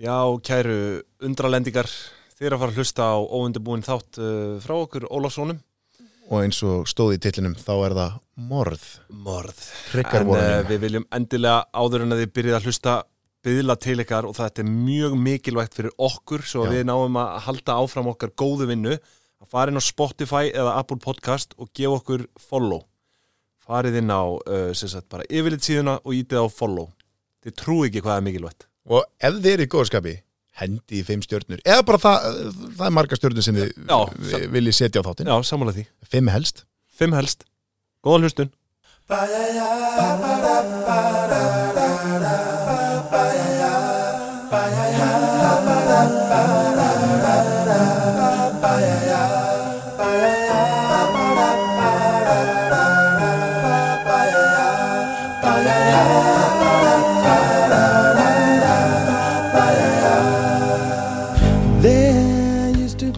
Já, kæru undralendingar, þið er að fara að hlusta á óundibúin þátt uh, frá okkur Ólafssonum. og eins og stóð í tillinum þá er það morð Morð. En uh, hryggarvorðin við viljum endilega áður en að þið byrjið að hlusta byðla til ykkar og þetta er mjög mikilvægt fyrir okkur svo að Já. við náum að halda áfram okkar góðu vinnu að fara inn á Spotify eða Apple Podcast og gefa okkur follow. Farið inn á, uh, sem sagt, bara yfirleitt síðuna og ítið á follow. Þið trú ekki hvað er mikilvægt. og ef þið eru í góðskapi hendi í fimm stjörnur eða bara það, það er marga stjörnur sem þið Já, vi- viljið setja á þáttin Já, sammála því. fimm helst Fimm helst. Góðan hlustun.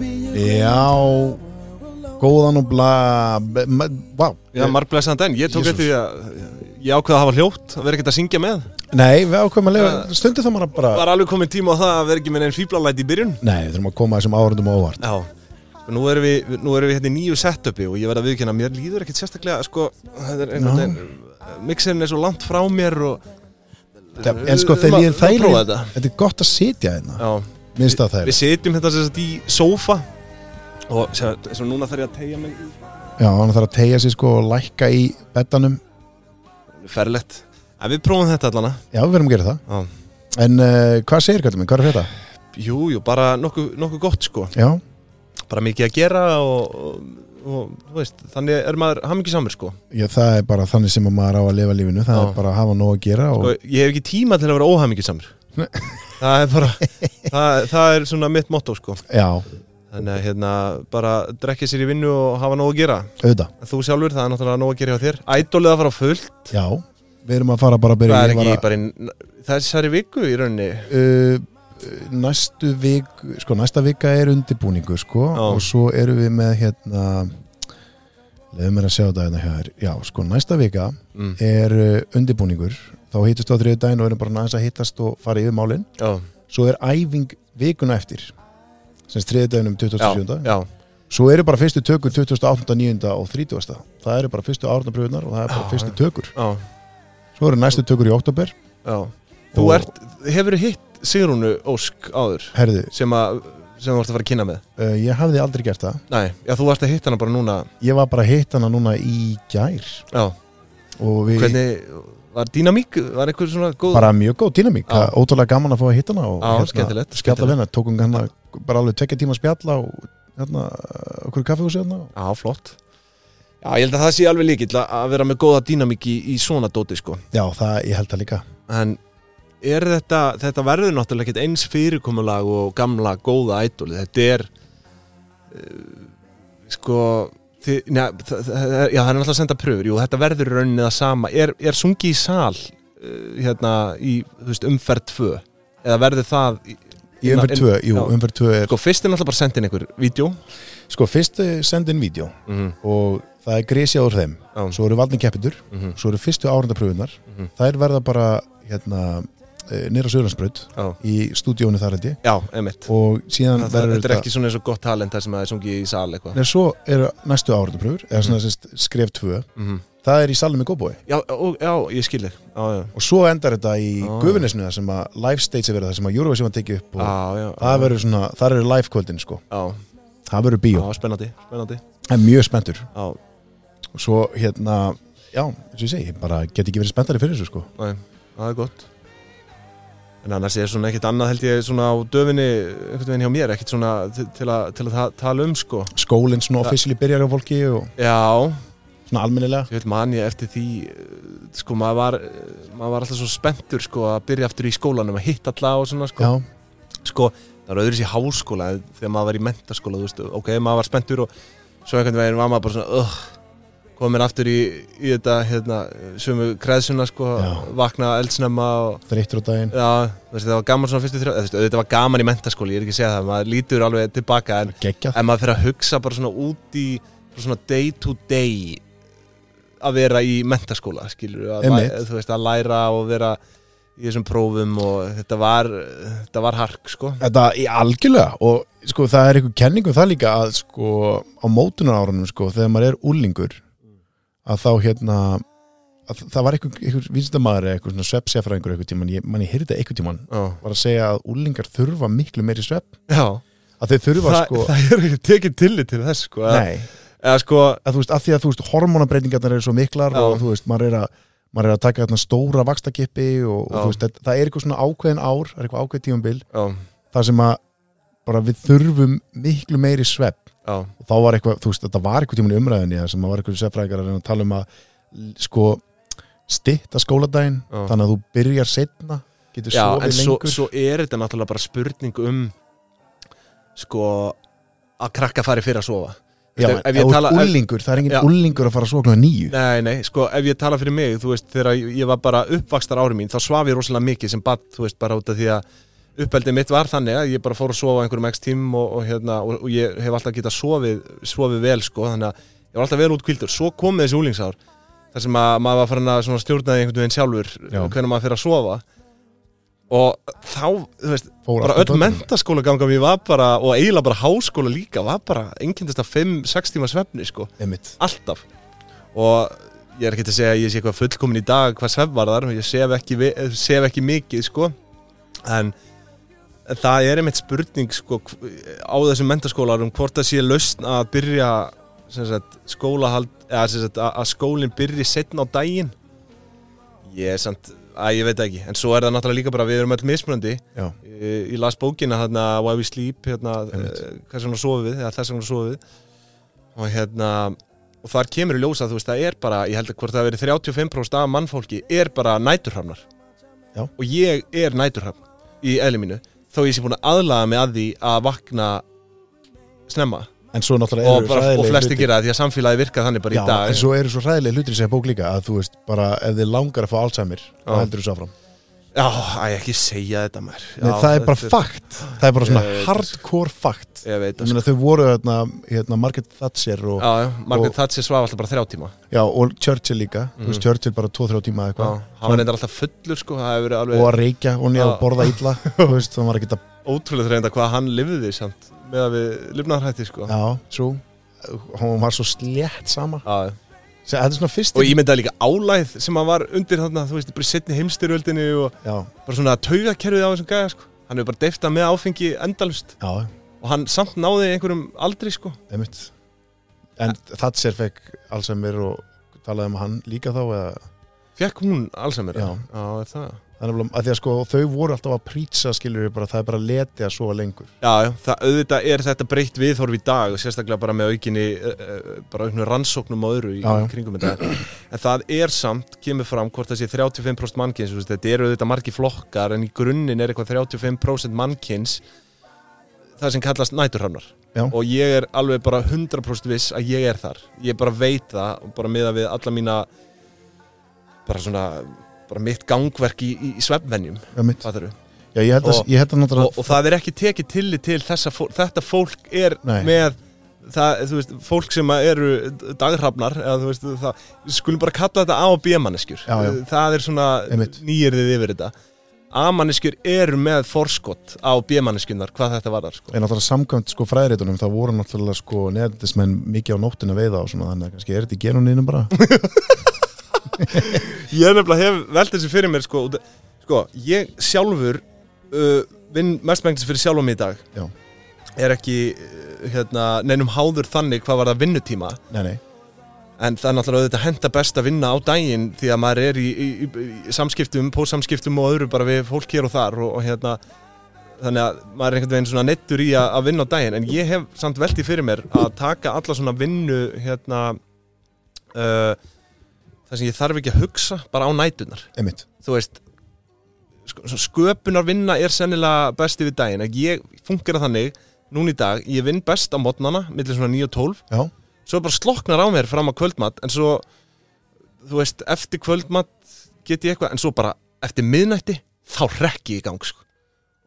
já góðan og bla b- ma- vá Já, margblæsaðan den, ég tók Jesús. eftir því að eh, ég ákveða að hafa hljótt, að vera ekkert að syngja með nei við ákveðum að lifa stundu þá maður bara Var alveg komin tíma á það að vera ekki með einn fýblalæti í byrjun nei við þurfum að koma þessum áhörndum á óvart Já, og nú erum við, við- nú erum við hérna í nýju setupi og ég verð að viðkynna, mér líður ekkert sérstaklega, sko, þetta er einhvern veginn, mixerin er svo langt frá mér og en sko þegar Við- ég er við þæri prófa þetta. þetta er gott að sitja hérna Já, minnst það við þæri setjum þetta sérst í sófa og sjá, eins og núna þarf ég að tegja mig í já hann þarf að tegja sig sko og lækka í betanum ferlegt En við prófum þetta allana já við verðum að gera það Já. en uh, hvað segir kallum minn hvað er þetta Jú, jú, bara nokkuð nokku gott, sko já Bara mikið að gera og, og, og þú veist, þannig er maður hamingisamur, sko Já, það er bara þannig sem að maður á að lifa lífinu Það Já. er bara að hafa nóg að gera og... sko, ég hef ekki tíma til að vera óhæmikið samur Nei. það er bara það, það er svona mitt motto sko Já, þannig að hérna bara drekja sér í vinnu og hafa nóg að gera auðvitað en þú sjálfur það er náttúrulega nóg að gera hjá þér ædólið að fara á fullt Já, við erum að fara bara að byrja það er ég ekki var bara í þessari viku í rauninni að, uh, Næstu vik Sko, næsta vika er undirbúningu sko, Já. Og svo erum við með hérna Leðum mér að sjá þetta hérna hjá þér Já, sko, næsta vika mm. er uh, undirbúningur Þá hittust á þriðu daginn og erum bara næst að hittast og fara yfir málin já, Svo er æfing vikuna eftir Sens þriðu daginn um já, 27. já, Svo eru bara fyrstu tökur 28, 9 og 30. Það eru bara fyrstu árnabröðunar og það eru bara Já, fyrstu já. tökur. já, Svo eru næstu tökur í oktober. já. þú Og- ert, hefur hitt Sigrúnu Ósk áður Herðu, sem að sem þú vart að fara að kynna með uh, ég hafði aldrei gert það. nei, já, þú varst að hitta hana bara núna Ég var bara að hitt hana núna í gær já, og við hvernig, var dýnamík var einhver svona góð bara mjög góð dýnamík. Já. Það er Ótrúlega gaman að fá að hitt hana og hérna, Já, skemmtilegt, spjalla skemmtilegt. við hana. Tókum hana bara alveg tvekja tíma að spjalla og hérna, uh, okkur kaffehúsi hérna. Já, flott Já, ég held að það sé alveg líkill að- að vera með góða dýnamík í, í svona dóti sko Já, það, ég held það líka. En er þetta, þetta verður náttúrulega ekkert eins fyrirkomulag og gamla góða ædoli Þetta er, uh, sko, þið, neð, það, það, já það er náttúrulega að senda pröfur Jú, þetta verður í rauninni það sama Er, er sungi í sal, uh, hérna, í þú veist, umferð tvö Eða verður það í, Í umferð 2, jú, Hérna já. umferð 2 er, Sko, fyrst er náttúrulega bara sendin einhver vídeo sko, fyrst eh, sendi inn vídeo mm og það er grísjað úr þeim. -hmm. Svo eru valnir keppitur svo eru fyrstu árandapröfunar Mhm. þær verða bara hérna, nýra Söðlandsbraut Já. í stúdíónu þar held ég Já, emitt og síðan Það, það, verður þetta er ekki svona eins og gott talent það sem að það er sungið í sal eitthvað Nei, svo eru næstu árandapröfur eða Mhm. svona sérst skref 2 mm. það er í salnum í Góboi já, og, já, ég skilir Já, já, og svo endar þetta í Ó. oh. þar sem að live stage er verið þar sem að Eurovision var tekið upp og já, já það verður svona, þar eru live kvöldin sko Já, það verður bíó, já, spennandi, spennandi það er mjög spenntur Já, og svo hérna, já, eins og ég segi ég bara get ekki verið spenntari fyrir þessu sko næ, það er gott En annars er svona ekkert annað held ég svona á döfinni einhvern veginn hjá mér, ekkert svona til, til, að, til að ta- tala um sko skólinn svona Það- officially byrjar á fólki og Já, svona almennilega ég vil man ég eftir því eh, sko, maður var, eh, maður var alltaf svo spenntur sko að byrja aftur í skólanum að hitta alla og svona sko já, sko, það var öðruvísi í háskóla en þegar maður var í mentaskóla, þú veist, ok, maður var spenntur og svo einhvern veginn var maður bara svona uh, komin aftur í, í þetta hérna, sömu kreðsuna sko, Já. vakna eldsnemma og þreyttur á daginn já, þú veist, það var gaman svona fyrstu þrjá, þú veist, auðvitað var gaman í mentaskóla, ég er ekki að segja það, maður lítur alveg tilbaka en, geggjað en maður fyrir að hugsa bara svona út í bara svona day to day að vera í mentaskóla, skilur Einmitt. þú veist, að læra og vera í í þessum prófum og þetta var, þetta var hark sko Þetta í algjörlega og sko það er einhver kenning um það líka að sko á mótunarárunum sko þegar maður er úlingur að þá hérna að það var einhver, einhver vinstamæður eða einhver svona sveppsjafræðingur einhver tíman, ég, mann ég heyrði þetta einhver tíman Já, var að segja að úlingar þurfa miklu meiri svepp Já. að þeir þurfa Þa, sko það er ekki tekið tillit til þess sko Eða- nei, eða sko að þú veist, að því að þú veist hormonabreitingarnar eru svo miklar Já. og þú veist, maður er að maður er að taka þarna stóra vakstakippi og, og Já. þú veist, það, það er eitthvað svona ákveðin ár það er eitthvað ákveðin tíumbil Já, þar sem að bara við þurfum miklu meiri svepp já, og þá var eitthvað, þú veist, þetta var eitthvað tímun í umræðinni þar sem að var eitthvað seffrækar að reyna að tala um að l- sko stitta skóladaginn, Já. þannig að þú byrjar setna, getur já en sofið svo, lengur svo er þetta náttúrulega bara spurning um sko að krakka fari fyrir að sofa já, ef- en ef ef ég þú tala- ert ef- úlingur, það er engin Já. úlingur að fara að sokla nýju Nei, nei, sko, ef ég tala fyrir mig, þú veist, þegar ég ég var bara uppvakstar ári mín, þá svaf ég rosalega mikið sem bad, þú veist, bara út af því að uppeldið mitt var þannig að ég bara fór að sofa á einhverjum x tím og, og hérna, og, og ég hef alltaf getað sofið, sofið vel, sko, þannig að ég var alltaf vel útkvildur, svo komið þessi úlingsár, þar sem að maður var farin að svona stjórna því einhvern veginn sjálfur, Já. hvernig maður fyrir að sofa og þá, þú veist, Fór bara allt á öll böllum. mentaskóla ganga mér var bara, og eiginlega bara háskóla líka, var bara engindast að 5-6 tíma svefni, sko Einmitt. alltaf og ég er ekki að segja að ég sé eitthvað fullkomin í dag hvað svef var þar, ég sef ekki, vi- eh, sef ekki mikið sko en en það er einmitt spurning sko hv- á þessum mentaskólarum hvort það sé lausn að byrja sem sagt, skólahald eða sem sagt, að að skólinn byrji setna á daginn ég er samt að ég veit það ekki, en svo er það náttúrulega líka bara við erum öll mismunandi Já. Eh, ég, ég las bókina hérna Why We Sleep hérna, Einmitt. eh, hvað sem hún sofið við, eða þess að hún sofið við. og hérna og þar kemur í ljósa, þú veist, það er bara ég held að hvort það verið 35% af mannfólki er bara næturhamnar Já. og ég er næturhamn í eðli mínu, þó ég sé búin að aðlaga mig að því að vakna snemma en svo náttúrulega og, eru bara, og hræðilegir flesti hlutir. gera það því að samfélagi virka þannig bara Já, í dag en svo eru svo hræðilega hlutir sem bók líka að þú veist, bara ef þið langar að fá Alzheimer þá Já. heldur þú svo áfram Já, æ, ekki segja þetta maður Já, Nei, það er bara þetta fakt, það er bara svona Ég veit það, hardcore fakt Ég veit Ég það sko. meina þau voru hérna, hérna Margaret Thatcher og, Já, já, Margaret og- Thatcher svaf alltaf bara þrjá tíma já. og Churchill líka þú veist, Churchill bara 2-3 tíma Mhm. Já, eða eitthvað hann var reyndar alltaf fullur sko, það hefur verið alveg og að reykja og nýja Já. og borða illa þú veist, það var ekki að, ótrúlega reynda hvað hann lifði samt með að við lifnaðarhætti sko já, true hún var svo slétt sama Já. Sem- þetta er svona fyrst og ég myndaði líka álæð sem hann var undir þarna, þú veist, bara setni heimstyrjöldinni og já, bara svona taugakerfið á þessum gæða sko hann hefur bara deyftað með áfengi endalust já, og hann samt náði einhverjum aldri sko einmitt en Thatcher fekk Alzheimer og talaði um hann líka þá eða fekk hún Alzheimer Já. já er það Þannig að, að því að sko þau voru alltaf að prýtsa skilur við bara það er bara leti að sofa lengur Já, já, það, auðvitað er þetta breytt viðhorf í dag og sérstaklega bara með aukinni eh, eh, bara aukinni rannsóknum og öðru í Já, já. kringum þetta en það er samt, kemur fram hvort það sé 35% mannkyns, þú veist, þetta eru auðvitað margi flokkar en í grunninn er eitthvað 35% mannkyns það sem kallast næturhamnar Já. og ég er alveg bara 100% viss að ég er þar ég bara veit það og bara miða við alla mína bara svona bara mitt gangverk í, í, í svefnvenjum Já, mitt. fattarðu? Já, ég held að, Og- ég held að og, náttúrulega og það er ekki tekið tillit til þessa fólk, þetta fólk er Nei. með það, þú veist, fólk sem að eru dagrafnar, eða þú veist það, við skulum bara kalla þetta A og B manneskjur Já, já. það er svona Einmitt. nýjirðið yfir þetta A manneskjur eru með forskott á B manneskjurnar, hvað þetta var þar sko. En náttúrulega samkvæmt sko fræðirétunum þá voru náttúrulega sko neðendismenn mikið á nóttina að veiða og svona þannig að kannski er þetta í genuninu bara ég er nefnilega hef velt þessu fyrir mér sko, út- sko ég sjálfur uh, vinn mestmengtis fyrir sjálfum í dag Já. er ekki uh, hérna, neinum háður þannig hvað var það vinnutíma Nei, nei, En það er náttúrulega auðvitað henda best að vinna á daginn því að maður er í, í, í, í samskiptum, pósamskiptum og öðru bara við fólk hér og þar og, og hérna þannig að maður er einhvern veginn svona nettur í að, að vinna á daginn en ég hef samt veltið fyrir mér að taka alla svona vinnu hérna uh, þar sem ég þarf ekki að hugsa bara á nætunar einmitt þú veist sk- svona sköpunarvinna er sennilega besti við daginn að ég funkar þannig núna í dag, ég vinn best á mótnana millir svona 9 og 12 Já, svo bara sloknar á mér fram að kvöldmatt en svo, þú veist, eftir kvöldmatt get ég eitthvað, en svo bara eftir miðnætti, þá rekki ég í gang sko.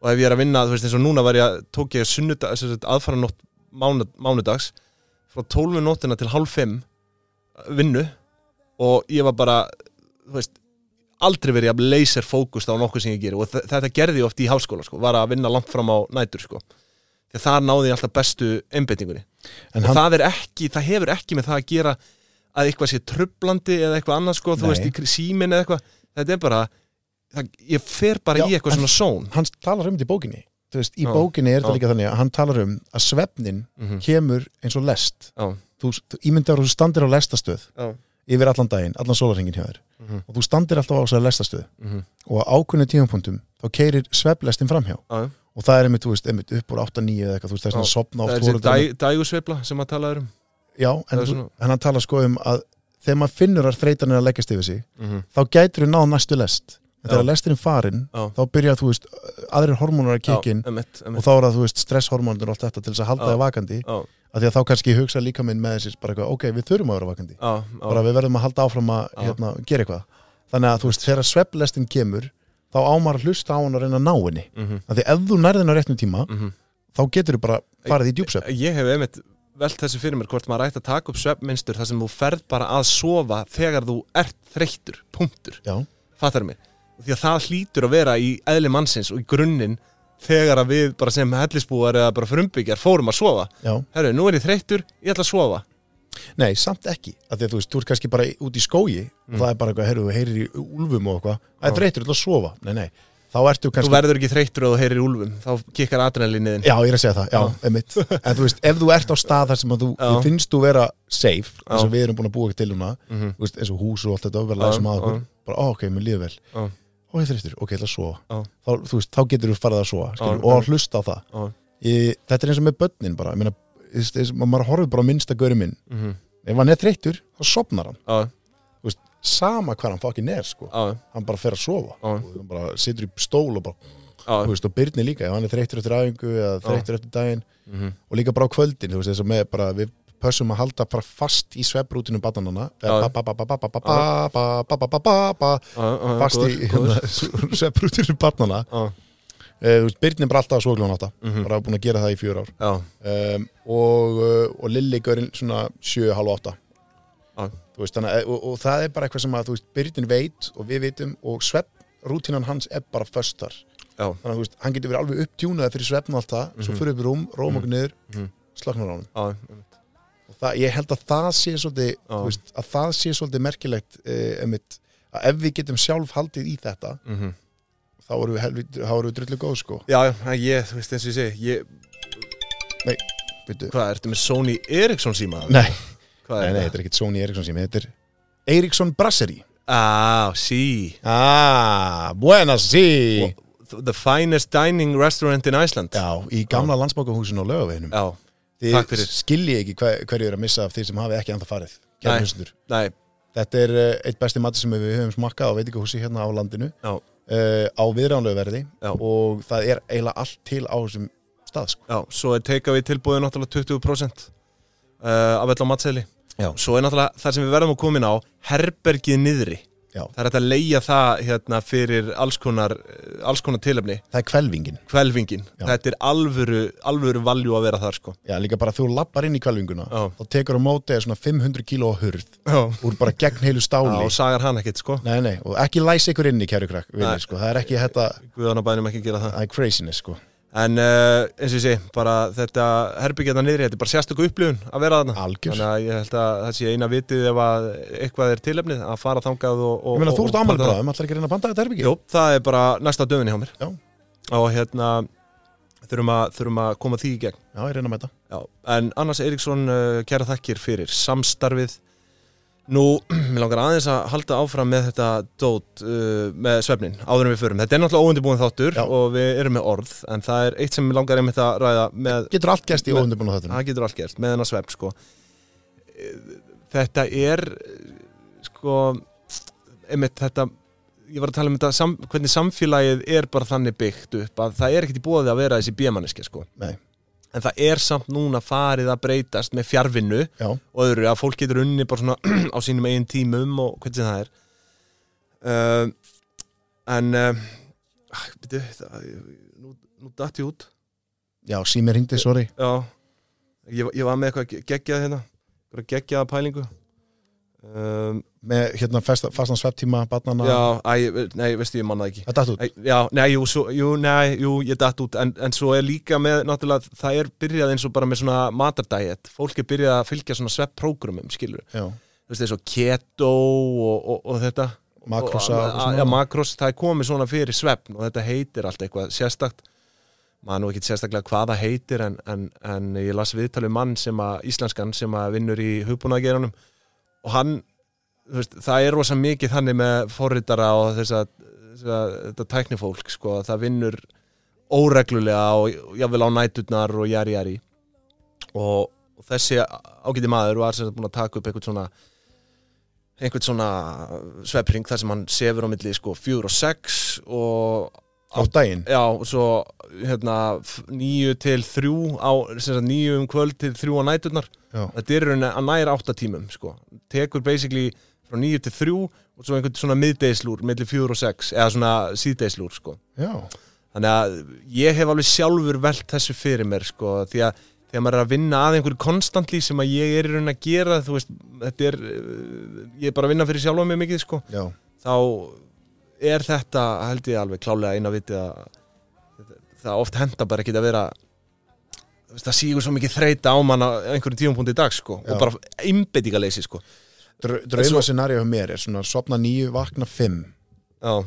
og ef ég er að vinna, þú veist, eins og núna var ég að tók ég sunnudag, sem sagt, aðfara nótt mánu, mánudags, frá 12 eh, nóttina til halv 5 vinnu og ég var bara, þú veist aldrei verið að laser fókust á nokkuð sem ég geri og þe- þetta gerði ég oft í háskóla sko, var að vinna langt fram á nætur sko. þegar það náði ég alltaf bestu einbeitingunni en og hann, það er ekki, það hefur ekki með það að gera að eitthvað sé trublandi eða eitthvað annað sko, þú Nei. veist, í símin eða eitthvað þetta er bara, það, ég fer bara Já, í eitthvað en- svona són hann talar um þetta í bókinni Þú veist, í Já, bókinni er þetta já. líka þannig að hann talar um að svefnin Mhm. kemur eins og lest Já. þú, þú ímyndar að þú standir á lestastöð Já. yfir allan daginn, allan sólarhingin hjá þér Mhm. og þú standir alltaf á þessari lestastöð Mhm. og á ákunni tímapunktum þá keirir sveflestin framhjá Já, já. og það er einmitt, þú veist, einmitt upp úr 8-9 eða eitthvað, þú veist, það er svona Já, sopna það oft er voru þessi þetta- dæ, dægusveifla sem að tala um Já, Það en, er þú, svona- en hann tala sko um að þegar maður finnur að þreytan er að leggjast yfir sig mm -hmm. þá gætur við náð næstu lest en Já. þegar lestin er farin, Já. þá byrja þú veist aðrir hormónar að kikka inn emitt, og þá er það, þú veist, stresshormónur og allt þetta til þess að halda Já. þig vakandi, Já, af því að þá kannski hugsa líka minn með þessi, bara eitthvað, ok, við þurfum að vera vakandi já, bara já, við verðum að halda áfram að Já. hérna, gera eitthvað þannig að þú veist, þegar sveflestin kemur þá ámar að hlusta á hann og reyna að ná henni Mhm, af því ef þú nærðin á réttnum tíma mhm. þá getur þú bara farið í djúpsvefn Ég hef einmitt velt þessu fyrir mér hvort maður ætti að taka upp svefnmynstur þar sem þú ferð bara að sofa þegar þú ert þreyttur, punktur, já, fattar mig því að það hlýtur að vera í eðli mannsins og í grunninn þegar að við bara sem hellisbúar eða bara frumbyggjar fórum að sofa já, Herru, nú er ég þreyttur, ég ætla að sofa nei, samt ekki af því að þú veist, þú ert kannski bara í- út í skógi Mm. og það er bara eitthvað, heyrðu, þú heyrir í úlfum og eitthvað það er þreytur til að sofa, nei, nei þá ertu Þú kannski, verður ekki þreyttur og þú heyrir í úlfum þá kikkar adrenaliniðin já, ég er að segja það já, einmitt, en þú veist, ef þú ert á stað þar sem að þú, Já. þú finnst þú vera safe eins Já. og við erum búin að búa ekki til núna mm -hmm. þú veist, eins og hús og allt þetta og Já, verða sem að okkur já. bara, ó, ok, mér líður vel Já. og ég þrýstur, ok, ég ætla að sofa Já. þá, þú veist, þá getur þú farið að sofa skilur, Já, og að hlusta á það Já. ég, þetta er eins og með börnin bara ég meina, þú veist, eins og maður horfir bara á minnsta gauri minn mm -hmm. ef hann er þreyttur, þá sopnar hann Já, Þú veist, sama hvað hann fokkin er sko. já, hann bara fer að sofa Já. Og hann bara situr í stól og bara, já þú veist, og byrni líka ef hann er þreyttur eftir æfingu eða þreyttur eftir daginn Mhm. og líka bara á kvöldin þú veist, eins og með bara, við pössum að halda bara fast í svefbrútinu bannanana Já. Já, já, já, fast góður, í góður. svefbrútinu barnana Já, Eh, þú veist, Birnir er bara alltaf að svoglun átta Mhm. bara búin að gera það í fjör ár já, um, og, eh, og Lilli görinn svona 7,5-8 Já. Þú veist, þannig, að- og, og það er bara eitthvað sem að þú veist, Birnir veit og við vitum og svepp rútínan hans er bara föstar já þannig að þú veist, hann getur verið alveg upptjúnaði fyrir svefn alltaf, mm svo Mhm. fyrir upp í rúm, róm okkur niður Mhm. slagnar á hann Já, og það, ég held að það sé svolítið, Já. þú veist, að það sé svolítið merkilegt eh, emitt, að ef við getum sjálf haldið í þetta mhm. þá erum við, helvít- þá erum við drullu góð sko já, já, ég, þú veist eins og ég segi ég, Byrju. Hvað, ertu með Sony Ericsson síma? Nei, Hvað Nei, er nei, það? þetta er ekkert Sony Ericsson sími, þetta er Ericsson Brasserie. Ah, sí Ah, buenas, sí. The finest dining restaurant in Iceland Já, í gamla landsbókahúsinu á lögaveginum. Já, Þið takk fyrir. skiljið ekki hver, hverju er að missa af því sem hafi ekki ennþá farið. Nei. Kæra hlustundur. nei, Þetta er uh, eitt besti mati sem við höfum smakkað á veitingahúsi hérna á landinu já, uh, á viðránlegu verði Já. og það er eiginlega allt til á þessum stað sko. já Svo er teika við tilbúið náttúrulega 20% uh, af öll á matseli Já. Svo er náttúrulega þar sem við verðum að koma inn á herbergið niðri Já. Það er hægt að leigja það hérna fyrir alls konar, eh, alls konar tilefni Það er kvelvingin. Hvelfingin, Já. þetta er alvöru alvöru valjú að vera þar sko Já, líka bara þú lappar inn í kvelvinguna Já. og tekur á móti eða svona 500 kíló á hurð Já, úr bara gegn heilu stáli. og sagar hann ekkert sko Nei, nei, og ekki læsa ykkur inni, kæru krakk Nei. vinni, sko. Það er ekki þetta, Guðanabænum ekki gera það það er craziness, sko En uh, eins og ég segi, bara þetta herbyggjana niðri, þetta er bara sérstöku upplifun að vera þarna. Algjör Þannig að ég held að það sé eina vitið ef að eitthvað er tilefnið að fara þangað og... og Ég meina, þú ert ámæli panta- bráðum, ætlar ekki að reyna að banda þetta herbyggi Jú, það er bara næsta döfin hjá mér. Já. Og hérna, þurfum að, þurfum að koma því í gegn. Já, ég reyna með þetta Já. En annars Eriksson, uh, kæra þakkir fyrir samstarfið. Nú, mér langar aðeins að halda áfram með þetta dót uh, með svefnin, áður en við förum. Þetta er náttúrulega óundibúin þáttur Já. og við erum með orð, en það er eitt sem mér langar einmitt að ræða með Getur allt gæst í Nei. óundibunum þetta það getur allt gerst með hennar svepp sko. þetta er sko einmitt þetta ég var að tala um þetta, sam, hvernig samfélagið er bara þannig byggt upp að það er ekkert í bóði að vera þessi bíamanniski sko. Nei. en það er samt núna farið að breytast með fjarvinnu Já, og öðru að fólk getur unni bara svona á sínum eigin tímum og hvernig sem það er uh, en uh, byrju, það, nú, nú datt ég út já, sími ringdi, sorry Já, ég, ég var með eitthvað geggjað hérna, eitthvað geggjað pælingu um, með hérna festa, fastan sveftíma barnana, Já, æ, nei, veistu, ég manna það ekki það datt út Æ, Já, nei, jú, svo, jú, nei, jú, ég datt út en, en svo er líka með, náttúrulega, það er byrjað eins og bara með svona matardæet Fólk er byrjað að fylgja svona svepprógrumum, skilur já, Þú veist, eins og keto og, og, og þetta makrosa og, og, og, Já, og, makros, það er komið svona fyrir sveppn og þetta heitir allt eitthvað sérstakt maður nú ekkit sérstaklega hvað það heitir en, en, en ég las viðtalið mann sem að íslenskan sem að vinnur í hugbúnaðgerunum og hann þú veist, það er rosa mikið þannig með forritara og þess að þetta tæknifólk sko, að það vinnur óreglulega og jáfnvel á næturnar og jari jari og, og þessi ágæti maður var sem sagt búin að taka upp einhvern svona einhvern svona sveppring þar sem hann sefur á milli sko 4 og 6 og á daginn já, og svo hérna 9 til 3 á, sem sagt 9 um kvöld til 3 á næturnar já, þetta er í rauninni að næra 8 tímum sko, tekur basically frá 9 til 3 og svo einhvern svona middeislúr milli 4 og 6, eða svona síðdeislúr sko, já, þannig að ég hef alveg sjálfur velt þessu fyrir mér sko, því að þegar maður er að vinna að einhverju konstantli sem að ég er í rauninni að gera þú veist, þetta er eh, ég er bara að vinna fyrir sjálfa mig mikið sko já, þá er þetta held ég alveg klálega eina vitið að það oft henda bara ekki að vera þú veist, það sígur svo mikið þreita á mann á einhverjum tíumpunkti í dag sko Já. og bara einbeitingaleysi sko Dra En svo- drauma scenarió hjá mér er svona sopna nýju, vakna fimm já,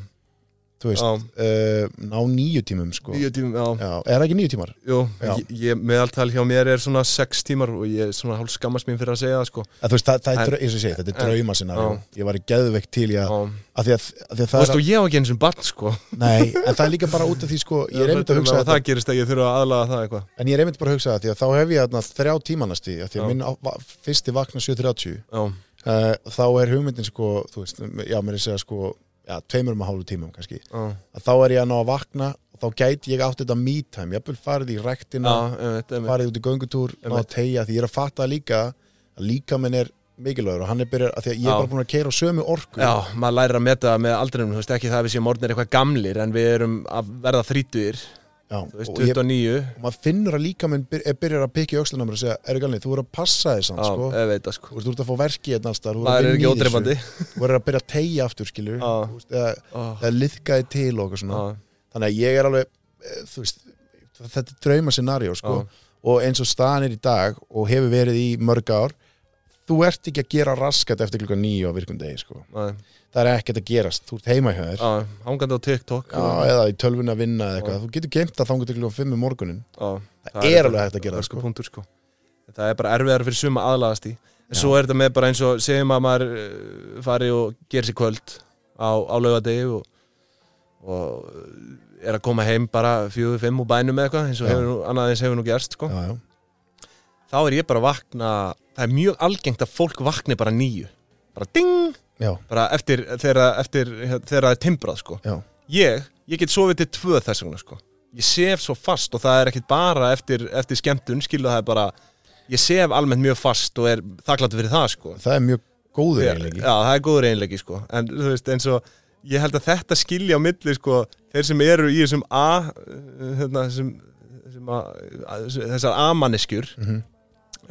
þú veist, já, uh, ná nýju tímum sko. nýju tímum já, já, er það ekki nýju tímar? jú, Já. Ég, ég, meðaltal hjá mér er svona sex tímar og ég er svona hálf skammast mín fyrir að segja það sko Að, þú veist, það, það En- er, en, ég segi, þetta er en- drauma scenarió ég var í geðveikt til ég já, að, að því að, að, því að þú það er veist og ég á ekki eins og barn sko Nei, en það er líka bara út af því sko, ég er einmitt að hugsa Ef þetta, það gerist að ég þurfa að aðlaga það eitthvað en ég er einmitt bara að hugsa þetta því að þá hef ég þarna þrjá tímanasti að því Já. að minn á, va, fyrsti vakna 7.30 uh, já, þá er hugmyndin sko, þú veist, já, mér er að segja sko já, tveimur um að hálfu tímum kannski já, að þá er ég að ná að vakna og þá gæti ég átt þetta me-time, ég hafði farið í já, rektina, einmitt, einmitt. farið út í göngutúr ná að Einmitt. tegja, því ég er að fatta líka að líka minn er mikilvægur og hann er byrjar, að því að ég Já. er bara búin að keira á sömu orku Já, maður lærir að meta það með aldrinum, þú veist ekki það að við séum orðnir eitthvað gamlir en við erum að verða þrítugir, Já, þú veist, og ég 29 og maður finnur að líka minn byr, er byrjar að pikið aukslunum og segja, eru galni, þú er að passa þess Já, hann, sko ég veit það sko Þú ert- þú ert að fá verki hérna allstar Maður er ekki ódreifandi Þú er að byrja að tegja aftur, skilur Já. veist, eða, Ó, eða liðkaði til og eitthvað svona já, Þannig að ég er alveg, eh, þú veist Þetta er drauma scenarió, sko Já. Og eins og staðan er í dag og hefur verið í mörg ár Þú ert ekki að gera raskat eftir klukkan nýju á virkum degi, sko já, Það er ekkert að gerast, þú ert heima hjá þér já, Hangandi á TikTok Já, eða í tölvunni að vinna eða eitthvað Þú getur geimt það þangur til klukkan fimm um morgunin já, Það er alveg hægt að gera það, sko. sko. Punktur, sko. Það er bara erfiðar fyrir suma aðlagast í En Já. svo er þetta með bara eins og segjum að maður eh, fari og gerir sér kvöld á, á laugadegi og, og eh, er að koma heim bara fjögur, fimm og bænum eða eitthvað eins og Já. hefur nú, annað eins hefur nú gerst sko. Já, já, þá er ég bara að vakna það er mjög algengt að fólk vakni bara nýju bara ding, já, bara eftir þegar eftir, þegar það er timbrað sko já, ég, ég get sofið til tvö þess vegna sko ég sef svo fast og það er ekkit bara eftir, eftir skemmtun, skilu það er bara ég sef almennt mjög fast og er þakklátt fyrir það sko það er mjög góður Þegar- eiginleiki Já, það er góður einleiki sko En þú veist, eins og ég held að þetta skilja á milli sko Þeir sem eru í þessum A eh, hérna, sem, sem a, að, Þessar A-manneskjur Mhm.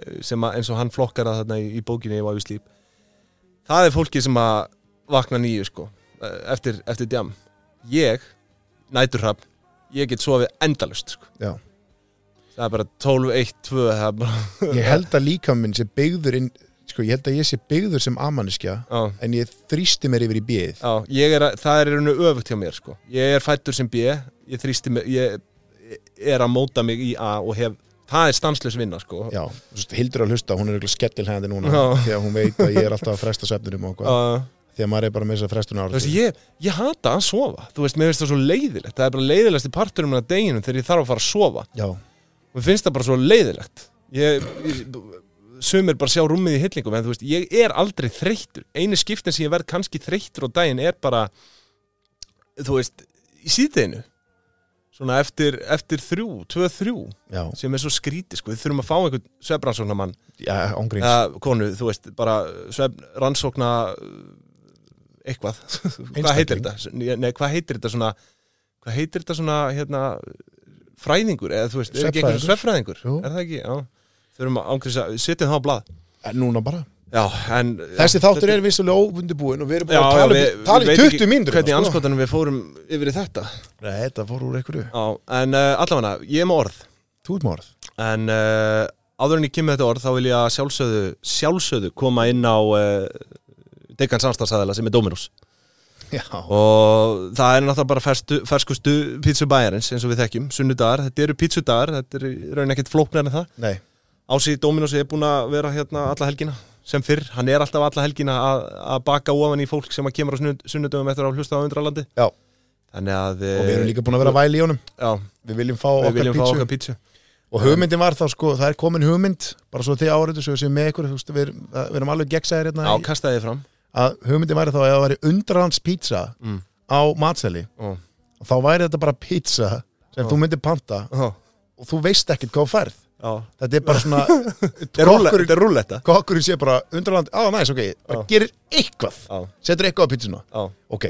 eh, Sem að, eins og hann flokkar að þarna í, í bókinni Ég var við slíp Það er fólki sem að vakna nýju sko eh, Eftir, eftir djam Ég, næturhrafn Ég get sofið endalust sko Já. Það er bara 12, 1, 2 Það er bara, ég held að líka minn sé byggður inn, sko, ég held að ég sé byggður sem amanniskja á en ég þrýsti mér yfir í bíð Já, ég er að, það er einu öfugt hjá mér sko. Ég er fættur sem B Ég þrýsti mig, ég ég er að móta mig í A og hef, það er stanslaus vinna sko. já, þú veist, hildur að hlusta, hún er eitthvað skettilhæðandi núna Já. því að hún veit að ég er alltaf að fresta svefnunum og eitthvað, uh, því að maður er bara með þess að frestuna Þú veist, ára ég, ég hata að sofa Þú veist, mér finnst það svo leiðilegt Það er bara leiðilegst í parturum en að deginum þegar ég þarf að fara að sofa já, Mér finnst það bara svo leiðilegt Ég, ég sumir bara sjá rúmið í hillingum en þú veist, ég er aldrei þreyttur Einu skiptin sem ég verð kannski þreyttur á daginn er bara þú veist, í síðdeinu svona eftir, eftir þrjú, tvö þrjú já, sem er svo skrítið sko, við þurfum að fá einhvern svefrannsóknamann já, ángríns eða konu, þú veist, bara uh, svefrannsókna uh, eitthvað, hvað heitir Einstakling. þetta nei, hvað heitir þetta svona hvað heitir þetta svona, hérna fræðingur, eða þú veist, er ekki einhvern svefræðingur Jú. er það ekki, já, þurfum að ángriðs að setja það á blað en núna bara, Já, en Þessi já, þáttur þetta- er vissulega óvundibúin og við erum Já, búin að tala, við- við, við tala í veit 20 ekki mínútur Hvernig í hérna, sko. anskotanum við fórum yfir í þetta Nei, þetta fór úr einhverju Já, en uh, allavega, ég er með orð Þú ert morð En uh, áður en ég kemur þetta orð þá vil ég að sjálfsögðu, sjálfsögðu koma inn á uh, Dekan samstagsæðala sem er Dominus Já, og það er náttúrulega bara festu, ferskustu pítsubæjarins eins og við þekkjum sunnudagar, þetta eru pítsudagar þetta er í raun ekkert flóknar en það nei, Ási Dominus er búin að vera hérna alla helgina sem fyrr, hann er alltaf alla helgina að, að baka ofan í fólk sem að kemur á sunnud- sunnudögum eftir að hlusta á undralandi já Og Þannig að eh, við erum líka búin að vera að væli í honum Já, Við viljum fá við okkar viljum fá pítsu okkar pítsu Og hugmyndin var þá sko, það er komin hugmynd Bara svo þið áriðu, svo við séum með ykkur þú veist, Við erum, að- við erum alveg gegnsæðir hérna Já, í- kastaði þið fram Að hugmyndin væri þá að það væri undralands pizza Mm. Á matseli Ó, Þá væri þetta bara pizza sem þú myndir panta ó, Og þú veist ekkert hvað þú færð Já, Þetta er bara svona Þetta er rúlle- kokkurinn- þetta er rúlletta Kokkurinn sé bara undraland Á, næs, ok, bara Já. gerir eitthvað Já, Setur eitthvað á pizzuna já, ok,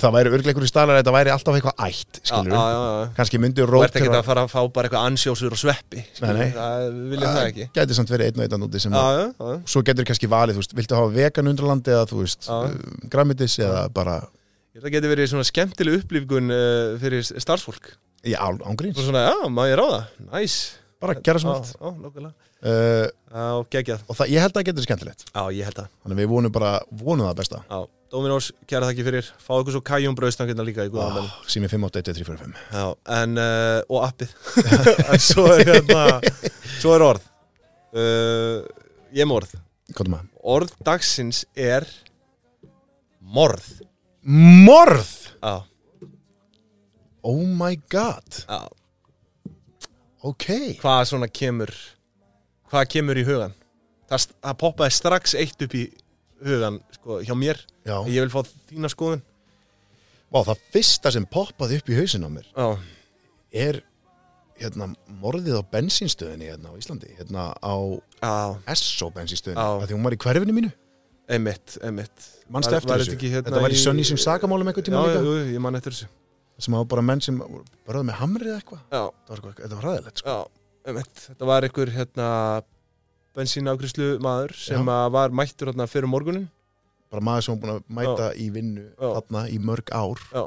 það væri örglega einhverju stalar þetta væri alltaf eitthvað ætt, já, skilur já, við já, já. kannski myndi Þú rót ert ekki að fara að fá bara eitthvað ansjósur og sveppi skilur Nei, nei. við, Það viljum það ekki Já, gæti samt verið einn og einn úti sem að, já, já svo getur kannski valið, þú veist, viltu hafa vegan undralandi eða þú veist, Já. græmitis eða bara, Ég held að geti verið svona skemmtileg upplifgun uh, fyrir starfsfólk já, ángríns Svo svona, já, má ég ráða, næs bara gera sem Já, allt já, nákvæmlega uh, Já, geggjað og það, ég held að það getur skemmtilegt Já, ég held það þannig að við vonum bara, vonum það besta Já, Dominós, kæra þakki fyrir Fá ykkur svo kæjum brauðstangirna líka í guðanmenn oh, sími 5811345 Já, en, uh, og appið En svo er hérna Svo er orð uh, Ég er með orð hvað er maður? Orð dagsins er Morð Morð! Já, Oh my god, já ok Hvað svona kemur Hvað kemur í hugan Það, st- það poppaði strax eitt upp í hugan sko, hjá mér já, Ég vil fá þína skoðun Vá, það fyrsta sem poppaði upp í hausinn á mér Já, er hérna, morðið á bensínstöðinni hérna á Íslandi, hérna á já, SO bensínstöðinni, Já. að því hún var í hverfinu mínu einmitt, einmitt Manstu Var- eftir var þessu? þetta ekki hérna Þetta var í Sunny sem sakamálum einhvern tímann Já, líka? jú, jú, ég man eftir þessu sem hafa bara menn sem börðað með hamrið eitthvað, Já, það var eitthvað, þetta var ræðilegt sko. Já, einmitt. þetta var einhver hérna bensínafgrislu maður sem Já. að var mættur hérna fyrir morgunin bara maður sem var búin að mæta í vinnu Já. þarna í mörg ár, Já,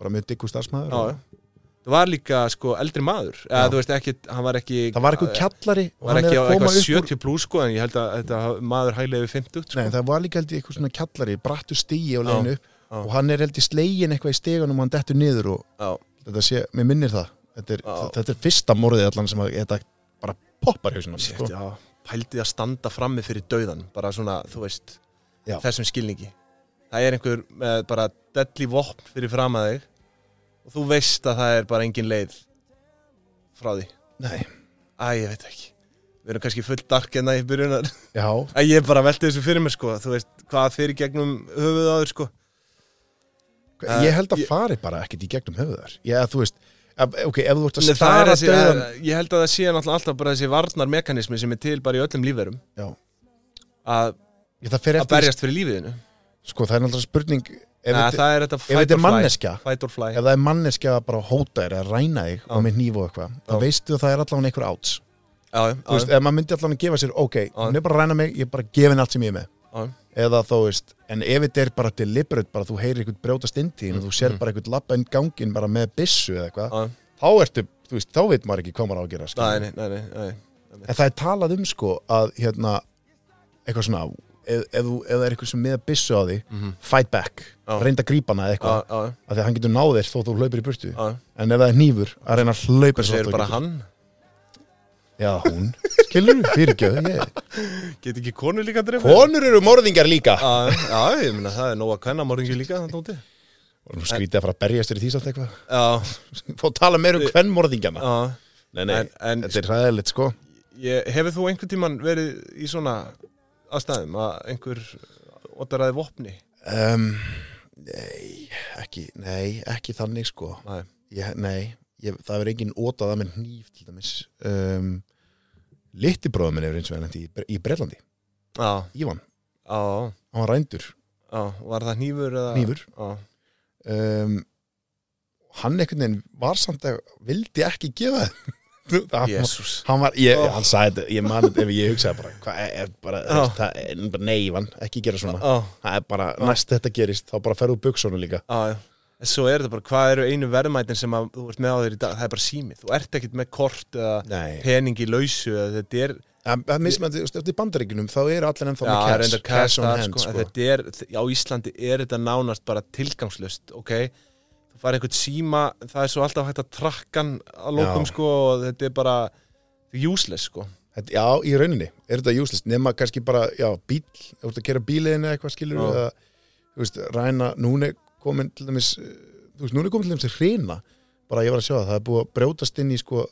bara mjög diggu starfsmæður já, já. Það var líka sko eldri maður eða Já. þú veist ekki, hann var ekki það var eitthvað kjallari og var hann ekki er á að koma eitthvað upp úr 70 pluss sko en ég held að þetta maður hæglega við 50 sko. Nei, það var líka held ég eitthvað svona kjallari, brattu stíi og leginu upp Já. og hann er held ég slegin eitthvað í stegunum og hann dettur niður og Já, þetta sé, mér minnir það þetta er, Já. þetta er fyrsta morðið allan sem að þetta bara poppar hausinn á mér, shit, sko. já pældi að standa frammi fyrir dauðan bara svona, þú veist, Já. þessum skilningi það er einhver með bara delli vopn fyrir fram að þig og þú veist að það er bara engin leið frá því Nei, Æ, ég veit ekki Við erum kannski full dark enna í byrjunar já, Æ, ég bara velti þessu fyrir mér sko Þú veist, hvað fyrir gegnum höfuð á þér sko Eh, ég held að ég- fari bara ekkert í gegnum höfuðar Já, þú veist, ef- ok, ef þú ert að Nei, það er stara þessi, döðan að, Ég held að það sé náttúrulega alltaf bara þessi varnarmekanismi sem er til bara í öllum lífverum Já, að, ég, það fer að eftir, berjast fyrir lífiðinu sko, það er náttúrulega spurning ef, Nei, þetta, Það er þetta ef fight þetta or er fly manneskja Fight or fly ef það er manneskja að bara hóta þér að ræna þig Já. og með nýf og eitthvað, Já. þá veistu að það er allan einhver áts Já, Þú veist, já, ef maður myndi allan að gefa sér, ok, hún er bara að ræna mig ég er bara að gefa henni allt sem ég er með já, eða þá veist, en ef þetta er bara deliberate, bara þú heyrir eitthvað brjótast inn tíðin og þú sér Mhm. bara eitthvað lappa inn gangin bara með byssu eða eitthvað, já. þá ertu þú veist, þá veit maður ekki hvað maður á að gera Nei, skilur. nei, nei, nei, nei. en það er talað um sko að hérna, eitthvað svona ef, ef, þú- ef það er eitthvað sem með byssu á því Mhm. fight back, Já. reynda að grípa hana eða Já, eitthvað, já, af því að hann getur náðir þó þú hlaupir í burtu, já en ef það er nýfur að reyna að Það hlaupa eins og ah. er þú bara getur. hann já, hún, skilur, fyrirgjöð yeah. Get ekki konu líka að drefa konur eru morðingar líka Já, já, ég meina, það er nóg að kvenna morðingi líka þannig úti og nú skrítið að fara að berjast fyrir því samt eitthvað Já, fór að tala meir um hvern morðingjana já nei, nei, En, en þetta er ræðilegt sko Ég, hefur þú einhvern tíman verið í svona aðstæðum að einhver ottaraði vopni? Um, nei, ekki, nei, ekki þannig sko Nei. ég, Nei, ég, það er engin ótað að minn hníf til dæmis um, Litti bróðum minn er eins og ennandi í, Bre- í Breitlandi, Já, Ívan já, Hann var rændur, já, var það hnífur eða? hnífur Já, um, Hann einhvern veginn var samt að vildi ekki gefa Það- Jesús hann var, ég, Ó. hann sagði þetta, ég man þetta ef ég hugsaði bara, hvað er- er bara, Já. oh. það, er bara neyvan, ekki gera svona Á, það er bara, Ah. næst þetta gerist, þá bara ferðu buksonu líka, á, já. En svo er þetta bara, hvað eru einu verðmætin sem að þú ert með á þér í dag? Það er bara sími. Þú ert ekkit með kort eða nei, peningi lausu eða þetta er... það það er mismændi, eftir bandaríkunum þá eru allir ennþá Já, það er með enda cash, cash on þar, hand sko, sko. en Þetta er, á Íslandi er þetta nánast bara tilgangslust, ok? Þú farið einhvern síma, það er svo alltaf hægt að trakkan að lókum, Já. sko, og þetta er bara useless, sko. Þetta, já, í rauninni, er þetta júslist nema kannski bara, já, bíl, þú ert að gera bíliðin eða eitthvað skilur Já. eða, þú veist, ræna, núna er komin til dæmis, eh, þú veist, núna er komin til dæmis hreina, bara ég var að sjá það, það er búið að brjótast inn í sko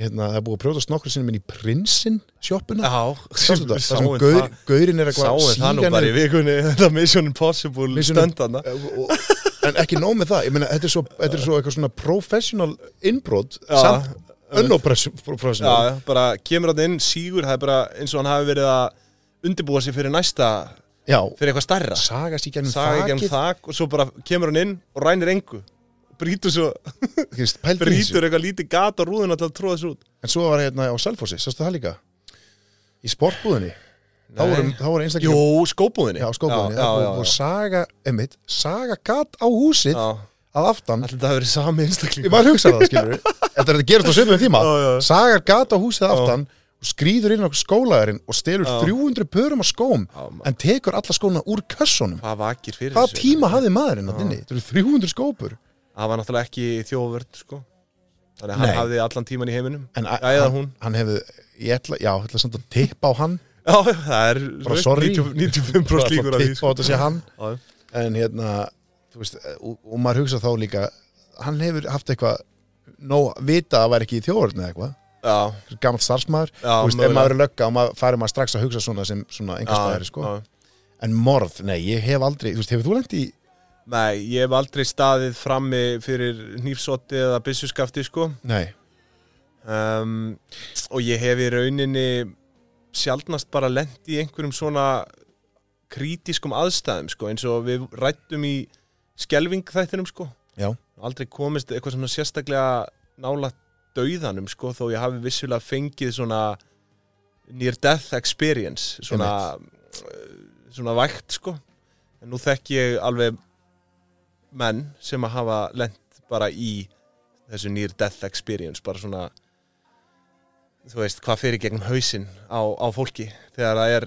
hérna, það er búið að brjótast nokkru sinnum inn í prinsinn sjoppuna, sástu þetta, það sem gaur, gaurinn er eitthvað Sáum það nú sígan bara í vikunni, þetta Mission Impossible Mission- stöndana. Eh, og, en ekki nóg með það, ég meina, þetta er svo, þetta er svo eitthvað svona professional innbrot, Já. samt unnoprofessional, Já, já, bara kemur hann inn, sígur, það er bara eins og hann hafi verið að undirbúa sig fyrir næsta, já, fyrir eitthvað starra. sagast í gennum Saga ekki um þakið þak og svo bara kemur hann inn og rænir engu. Brýtur svo, Þú veist, pældu í þessu. brýtur eitthvað lítið gat á rúðuna til að tróða þessu út. En svo var hérna á Selfossi, sástu það líka Í sportbúðinni Þá Nei. voru, þá voru einstaklega Jú, skóbúðinni. Já, skópbúðinni Já, Það já, voru já. saga, emmitt, saga gat á húsið já. að aftan Allir þetta hafi verið sami Ég einstakling. maður hugsa það, skilur Þetta er þetta gerast á sömum tíma Já, já. Sagar gat á húsið að aftan og skrýður inn á skólaðurinn og stelur Já. 300 pörum af skóm Já, maður. en tekur alla skóna úr kössunum Hvað vakir fyrir Hvað þessu? tíma hafði maðurinn að inni? Þetta eru 300 skópur Það var náttúrulega ekki þjófvörd, sko. Þannig að hann Nei. hafði allan tíman í heiminum. En a- Já, eða hann, hún. hann hefði, ég ætla, já, ég ætla samt að tippa á hann Já, já, það er Bara sorry. 90 95% líkur að því, tippa á sko. þetta sé hann Já, já. en hérna þú veist, og, og maður hugsa þá líka hann hefur haft eitthvað nóg vita að það væri ekki í þjóðurinn eða eitthvað Já, gammalt starfsmæður, Já, þú veist, mögulega. ef maður er lögga og maður farið maður strax að hugsa svona sem svona einhverstaðari sko, já. en morð, nei, ég hef aldrei þú veist, hefur þú lent í, Nei, ég hef aldrei staðið frammi fyrir nýfsotti eða byssuskafti sko nei um, og ég hef í rauninni sjaldnast bara lent í einhverjum svona krítiskum aðstæðum sko eins og við rættum í skelvingþættinum sko Já. aldrei komist eitthvað svona sérstaklega nála dauðanum sko þó ég hafi vissulega fengið svona near death experience svona, svona vægt sko en nú þekk ég alveg menn sem að hafa lent bara í þessu near death experience bara svona þú veist hvað fyrir gegnum hausinn á, á fólki þegar það er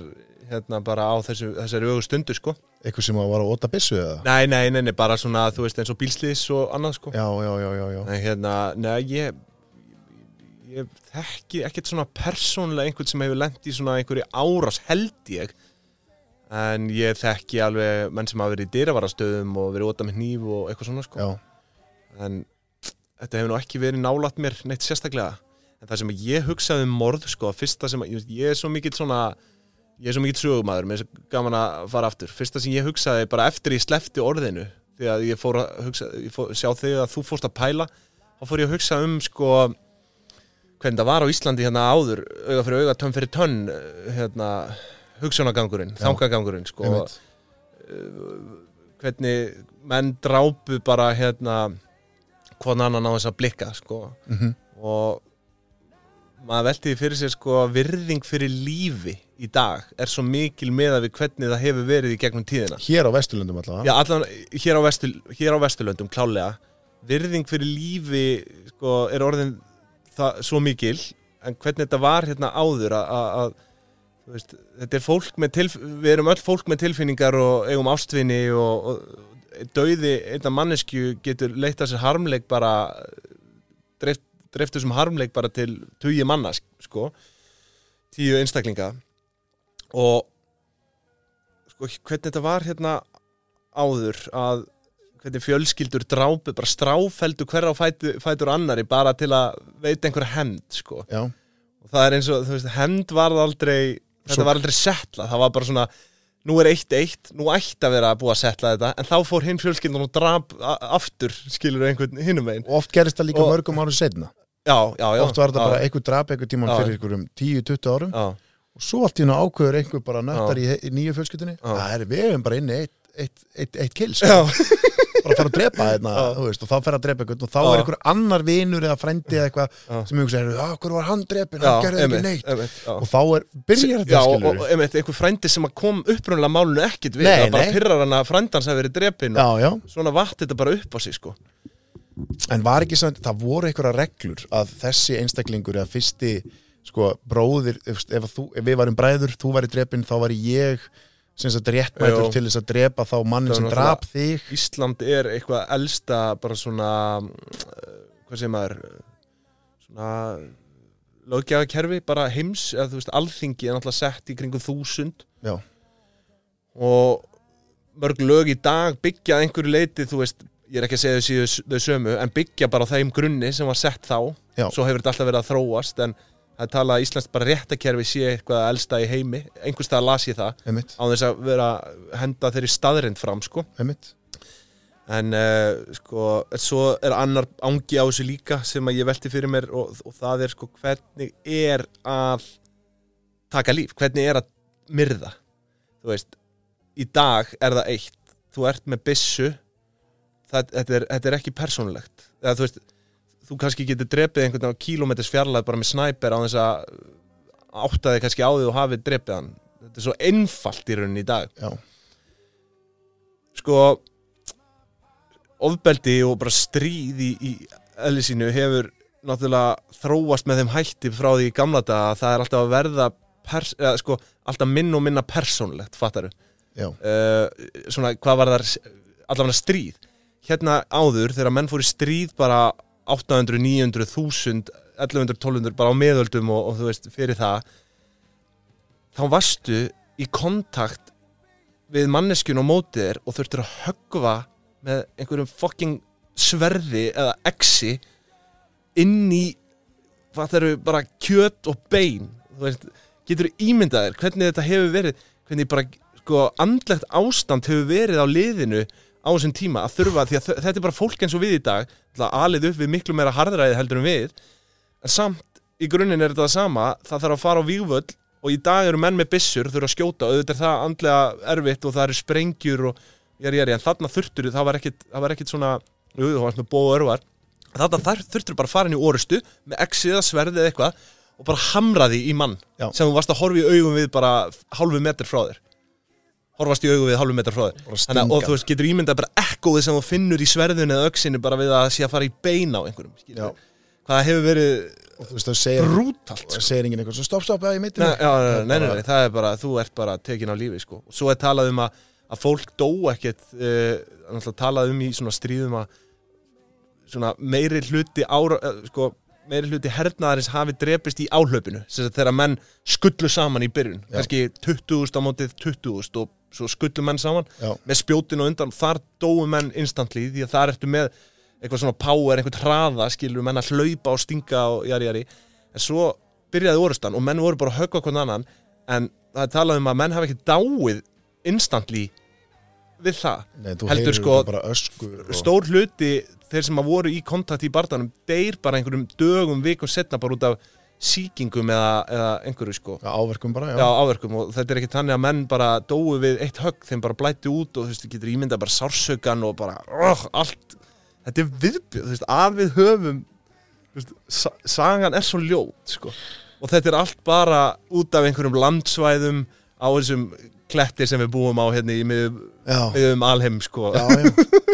hérna bara á þessu, þessari ögu stundu sko eitthvað sem var að óta byssu eða nei, nei, nei, nei, bara svona þú veist eins og bílsliðs og annað sko já, já, já, já, já. en hérna, nei, ég ég þekki ekkert svona persónlega einhvern sem hefur lent í svona einhverju árás held ég en ég þekki alveg menn sem hafa verið í dyravarastöðum og verið óta með hníf og eitthvað svona sko já. en þetta hefur nú ekki verið nálat mér neitt sérstaklega en það sem ég hugsaði um morð sko, fyrsta sem að, ég, veist, ég er svo mikill svona ég er svo mikill sögumæður, mér er svo gaman að fara aftur fyrsta sem ég hugsaði bara eftir ég slefti orðinu því að ég fór að hugsa, ég fór, sjá þegar að þú fórst að pæla þá fór ég að hugsa um sko hvernig það var á Íslandi hérna áður auga fyrir auga, tönn fyrir tönn hérna, hugsanagangurinn, Já. þangagangurinn sko, einmitt. hvernig menn drápu bara hérna hvona annan á þess að blikka sko. Mhm. og maður velti því fyrir sér sko að virðing fyrir lífi í dag er svo mikil meða við hvernig það hefur verið í gegnum tíðina hér á Vesturlundum allavega Já, allan, hér, á Vestur, hér á Vesturlöndum klálega virðing fyrir lífi sko, er orðin það, svo mikil en hvernig þetta var hérna áður að- að að, þú veist, þetta er fólk með tilf við erum öll fólk með tilfinningar og eigum ástvinni og, og dauði einna mannesku getur leita sér harmleik bara dreift, dreift þessum harmleik bara til tugi manna sko, tíu einstaklinga og sko, hvernig þetta var hérna áður að hvernig fjölskyldur drápu, bara stráfeldu hver á fætu, fætur annari bara til að veita einhver hemd, sko já, og það er eins og, þú veist, hemd varð aldrei Svo- þetta var aldrei setla, það var bara svona nú er eitt eitt, nú ætti að vera að búa að setla þetta, en þá fór hinn fjölskyldan og drap a- aftur, skilur einhvern hinum einn, og oft gerist það líka Og- mörgum árum setna já, já, já oft var þetta já, bara einhver drap einhver tíman Já. fyrir einhverjum 10-20 árum já, og svo allt í hennu ákveður einhver bara nöttar í, í nýju fjölskyldunni Já. það er við hefum bara inni eitt, eitt, eitt, eitt kill sko. já, bara að fara að drepa hérna, þú veist, og þá fer að drepa eitthvað og þá er Já. einhver annar vinur eða frendi eða eitthvað sem hugsa, hérna, hvað var hann drepin, hann gerði ekki neitt einmitt, já. og þá er, byrjar Já, þetta og, skilur og einmitt, einhver frændi sem að kom upprunnilega málunum ekkit við, Nei, það bara nei. pyrrar hann að frændan sem hafi verið drepin já, og já, svona vatt þetta bara upp á sig sko en var ekki samt, það voru einhverja reglur að þessi einstaklingur eða fyrsti sko, bróðir, ef, ef, þú, ef við varum bræður þú væri drepin, þá væri ég sem sagt réttmætur Jú. til þess að drepa þá mannin Það sem var drap þig Ísland er eitthvað elsta bara svona eh, hvað segir maður eh, svona löggjafakerfi, bara heims eða þú veist, alþingi er náttúrulega sett í kringum þúsund já, og mörg lög í dag byggja að einhverju leiti, þú veist ég er ekki að segja þau séu þau sömu, en byggja bara á þeim grunni sem var sett þá Já. svo hefur þetta alltaf verið að þróast en það er talað að Íslands bara réttakerfi sé eitthvað elsta í heimi, einhvers staðar las ég það einmitt, á þess að vera henda þeirri staðrind fram sko einmitt en uh, sko, en svo er annar ángi á þessu líka sem að ég velti fyrir mér og, og það er sko hvernig er að taka líf, hvernig er að myrða, þú veist í dag er það eitt þú ert með byssu það, þetta, er, þetta er ekki persónulegt eða þú veist, þú kannski getur drepið einhvern á kílómetris fjarlæð bara með snæper á þess að áttaði kannski á því og hafið drepið hann þetta er svo einfalt í rauninni í dag já, sko ofbeldi og bara stríð í, í eðli sínu hefur náttúrulega þróast með þeim hætti frá því í gamla daga að það er alltaf að verða pers, eða, sko, alltaf minn og minna persónlegt fattaru já, uh, svona hvað var þar allavega stríð hérna áður þegar menn fóru í stríð bara 800, 900, 1000 1100, 1200 bara á meðöldum og, og þú veist fyrir það þá varstu í kontakt við manneskjun og mótið þér og þurftir að höggva með einhverjum fucking sverði eða exi inn í hvað það eru bara kjöt og bein þú veist, getur ímyndað þér hvernig þetta hefur verið hvernig bara sko, andlegt ástand hefur verið á liðinu á þessum tíma að þurfa því að þ- þetta er bara fólk eins og við í dag ætla að alið upp við miklu meira harðræði heldur en við en samt í grunninn er þetta það sama það þarf að fara á vývöll og í dag eru menn með byssur þurfa að skjóta og auðvitað er það andlega erfitt og það eru sprengjur og jari, jari, en þarna þurftur það var ekkit, það var ekkit svona jú, það var svona bóð og örvar þarna þar þurftur bara að fara inn í orustu með exið eða sverði eða eitthvað og bara hamra því í mann Já. sem þú varst að horfa í augum við bara hálfu metr frá þér horfast í augum við hálfu metr frá þér Bara Þannig, að- og stinga. þú veist, getur ímyndað bara ekkoði sem þú finnur í sverðinu eða öksinu bara við að það sé að fara í beina á einhverjum já skilur. hvað hefur verið og þú veist, það segir brútalt sko. það segir enginn eitthvað, svo stopp, stopp, já, ég meiti Nei, mig já, nei, nei, nei, bara- nei, það er bara, þú ert bara tekin á lífi sko. og svo er talað um að, að fólk dó ekkert uh, talað um í svona stríðum að svona meiri hluti ára, uh, sko, meiri hluti hernaðarins hafi drepist í áhlaupinu sem sagt þegar menn skullu saman í byrjun Já. kannski 20.000 á mótið 20.000 og svo skullu menn saman Já. með spjótin og undan, þar dóu menn instantly því að þar ertu með eitthvað svona power, einhvern hraða, skilur menn að hlaupa og stinga og jari jari en svo byrjaði orustan og menn voru bara að höggva hvern annan en það er talað um að menn hafa ekki dáið instantly við það Nei, þú heldur heyrir sko bara öskur og... stór hluti þeir sem að voru í kontakt í barndanum deyr bara einhverjum dögum, vikum setna bara út af sýkingum eða, eða einhverju sko Já, áverkum bara, já, já, áverkum og þetta er ekki þannig að menn bara dói við eitt högg þeim bara blætti út og þú veist, þú getur ímyndað bara sársökan og bara oh, allt, þetta er viðbjöð þú veist, að við höfum þú veist, sa- sagan er svo ljót sko. og þetta er allt bara út af einhverjum landsvæðum á þessum kletti sem við búum á hérna í miðum, já, miðum alheim sko. já, já.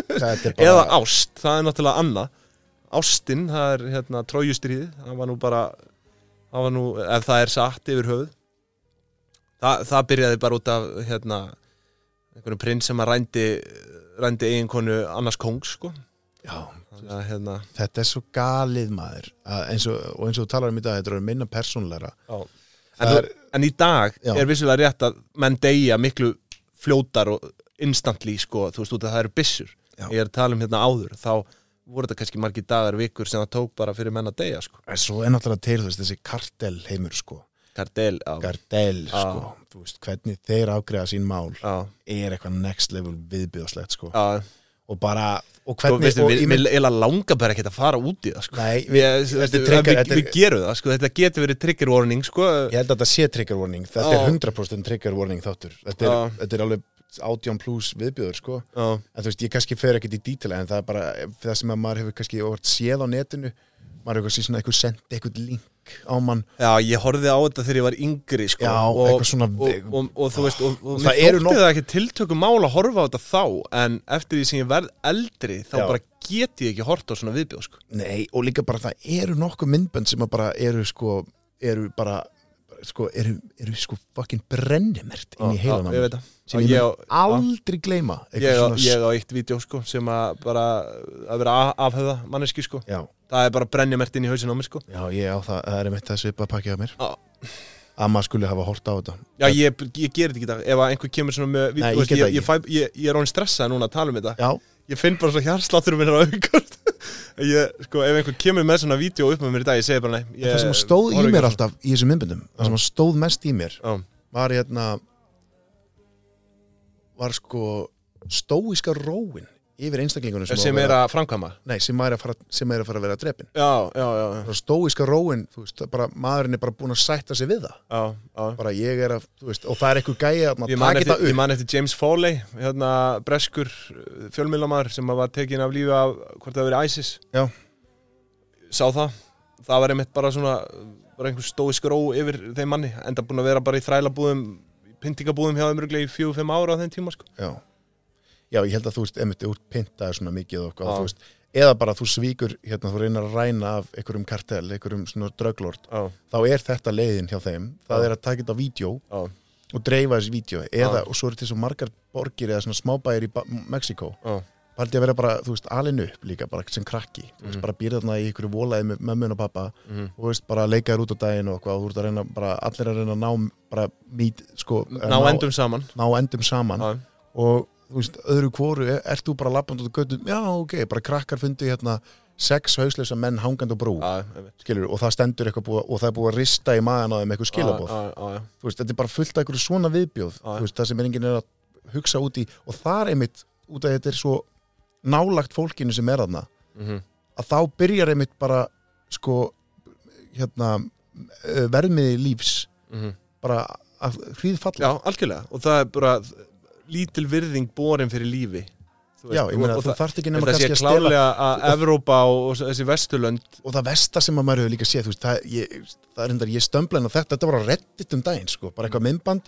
Þetta er bara eða ást, það er náttúrulega annað ástin, það er hérna trójustrýði, það var nú bara það var nú, ef það er satt yfir höfuð Þa, það byrjaði bara út af hérna einhvern prins sem að rændi rændi eiginkonu annars kongs sko. já, þannig að hérna þetta er svo galið maður að eins og, og eins og þú talar um í dag þetta er minna persónleira en, Það þú- er- en í dag Já. er vissulega rétt að menn deyja miklu fljótar og instantly sko, þú veist út að það eru byssur Já. ég er að tala um hérna áður, þá voru þetta kannski margir dagar, vikur sem það tók bara fyrir menn að deyja sko. en svo er náttúrulega til þú veist, þessi kartel heimur sko Kardel á, kartel Já. sko, þú veist hvernig þeir ágreða sín mál á er eitthvað next level viðbjóðslegt sko Já, og bara, sko, og hvernig veistu, og við, ég við, mynd- við langar bara ekkert að fara út í það sko. nei, við, veistu, þetta er við, trigger- við, þetta er- við gerum það sko. þetta getur verið trigger warning sko. ég held að þetta sé trigger warning þetta Já. er 100% trigger warning þáttur þetta er, Já. þetta er alveg átján pluss viðbjöður sko já, en þú veist, ég kannski fer ekkert í dítila en það er bara það sem að maður hefur kannski orðið séð á netinu maður hefur kannski svona eitthvað sendið eitthvað link á mann já, ég horfði á þetta þegar ég var yngri sko, Já, og, eitthvað svona- og, og, og þú veist, og, og Það mér eru þótti nóg- það ekki tiltökum mál að horfa á þetta þá en eftir því sem ég verð eldri þá Já. bara get ég ekki hort á svona viðbjóð sko. Nei, og líka bara það eru nokkuð myndbönd sem að bara eru sko eru bara sko, eru, eru sko fucking brennimert inn í Já, heilan já, á mér ég veit það. sem Já, ég, ég- mun aldrei gleyma ég, á- eitthvað svona ég á eitt vídeo sko, sem að bara að vera a- afhöfða manneski sko. Já, það er bara brennjamert inn í hausin á mér sko. já, ég á það, það er meitt að svipa að pakja á mér Já. að maður skulle hafa hort á þetta já, ég, ég gerir þetta ekki í dag ef að einhver kemur svona með vídeo, Nei, ég þú veist, get það ég, ég, fæ, ég, ég er án stressað núna að tala um þetta Já, ég finn bara svo hjarslátturum minn er að aukast ég, sko, ef einhver kemur með svona vídeo upp með mér í dag, ég segi bara nei ég, það sem að stóð í horfi mér ekki á alltaf í þessum myndböndum það sem að stóð mest í mér svona. var hérna var sko stóiska róin yfir einstaklingunum Já, sem, Eh, sem var er að, að framkama nei, sem, er að fara, sem er að fara að vera að drepin já, já, já, já, stóiska róin, þú veist, það bara, maðurinn er bara búin að sætta sig við það já, já. bara ég er að, þú veist, og það er eitthvað gæja að Ég maður man, taki eftir, það ég upp man eftir James Foley, hérna breskur fjölmjölamar sem var tekin af lífi af hvort það hafi verið ISIS Já. Sá það, það var einmitt bara svona bara einhver stói skró yfir þeim manni enda búin að vera bara í þrælabúðum í pyntingabúðum hjá þeim ruglega í fjögur-fimm ára á þeim tíma sko já. já, ég held að þú veist, emitt, þú ert pyntaður svona mikið og Já. hvað, þú veist eða bara þú svíkur, hérna, þú reynar að ræna af einhverjum kartel, einhverjum svona dröglord Já, þá er þetta leiðin hjá þeim Já. það er að taka þetta á vídeo já, og dreifa þessi vídeo eða, og svo eru til svo margar borgir eða svona smábæir í Mexiko já, paldi að vera bara, þú veist, alin upp líka bara sem krakki, þú veist, Mhm. bara býrða þarna í einhverju volaði með mömmun og pappa mhm. og þú veist, bara leika þér út á daginn og eitthvað og þú ert að reyna, bara, allir að reyna að ná bara mít, sko, Ná endum saman ná endum saman Já, og, þú veist, öðru kvoru, er, ert þú bara lappand út á göttum, já, ok, bara krakkar fundu hérna sex hauslösa menn hangandi á brú já, einmitt skilur, og það stendur eitthvað búið, og það er búið að rista í maðan á þeim eitthvað skilabóð Já, já, já, þú veist, þetta er bara fullt af einhverju svona viðbjóð Já. þú veist, það sem er enginn er að hugsa út í og þar einmitt, út af þetta er svo nálagt fólkinu sem er þarna mhm. að þá byrjar einmitt bara sko, hérna eh, verðmiði lífs Mhm. bara að hríðfalla já, algjörlega og það er bara lítil virðing borin fyrir lífi Þú veist, Já, ég meina, og- og þú þarft ekki nema Þetta sé kannski að stela klálega að Evrópa og, og þessi vesturlönd og það versta sem að maður hefur líka séð þú veist, það, ég, það er hendar, ég stömbla en þetta þetta var að reddit um daginn, sko, bara eitthvað Mm. myndband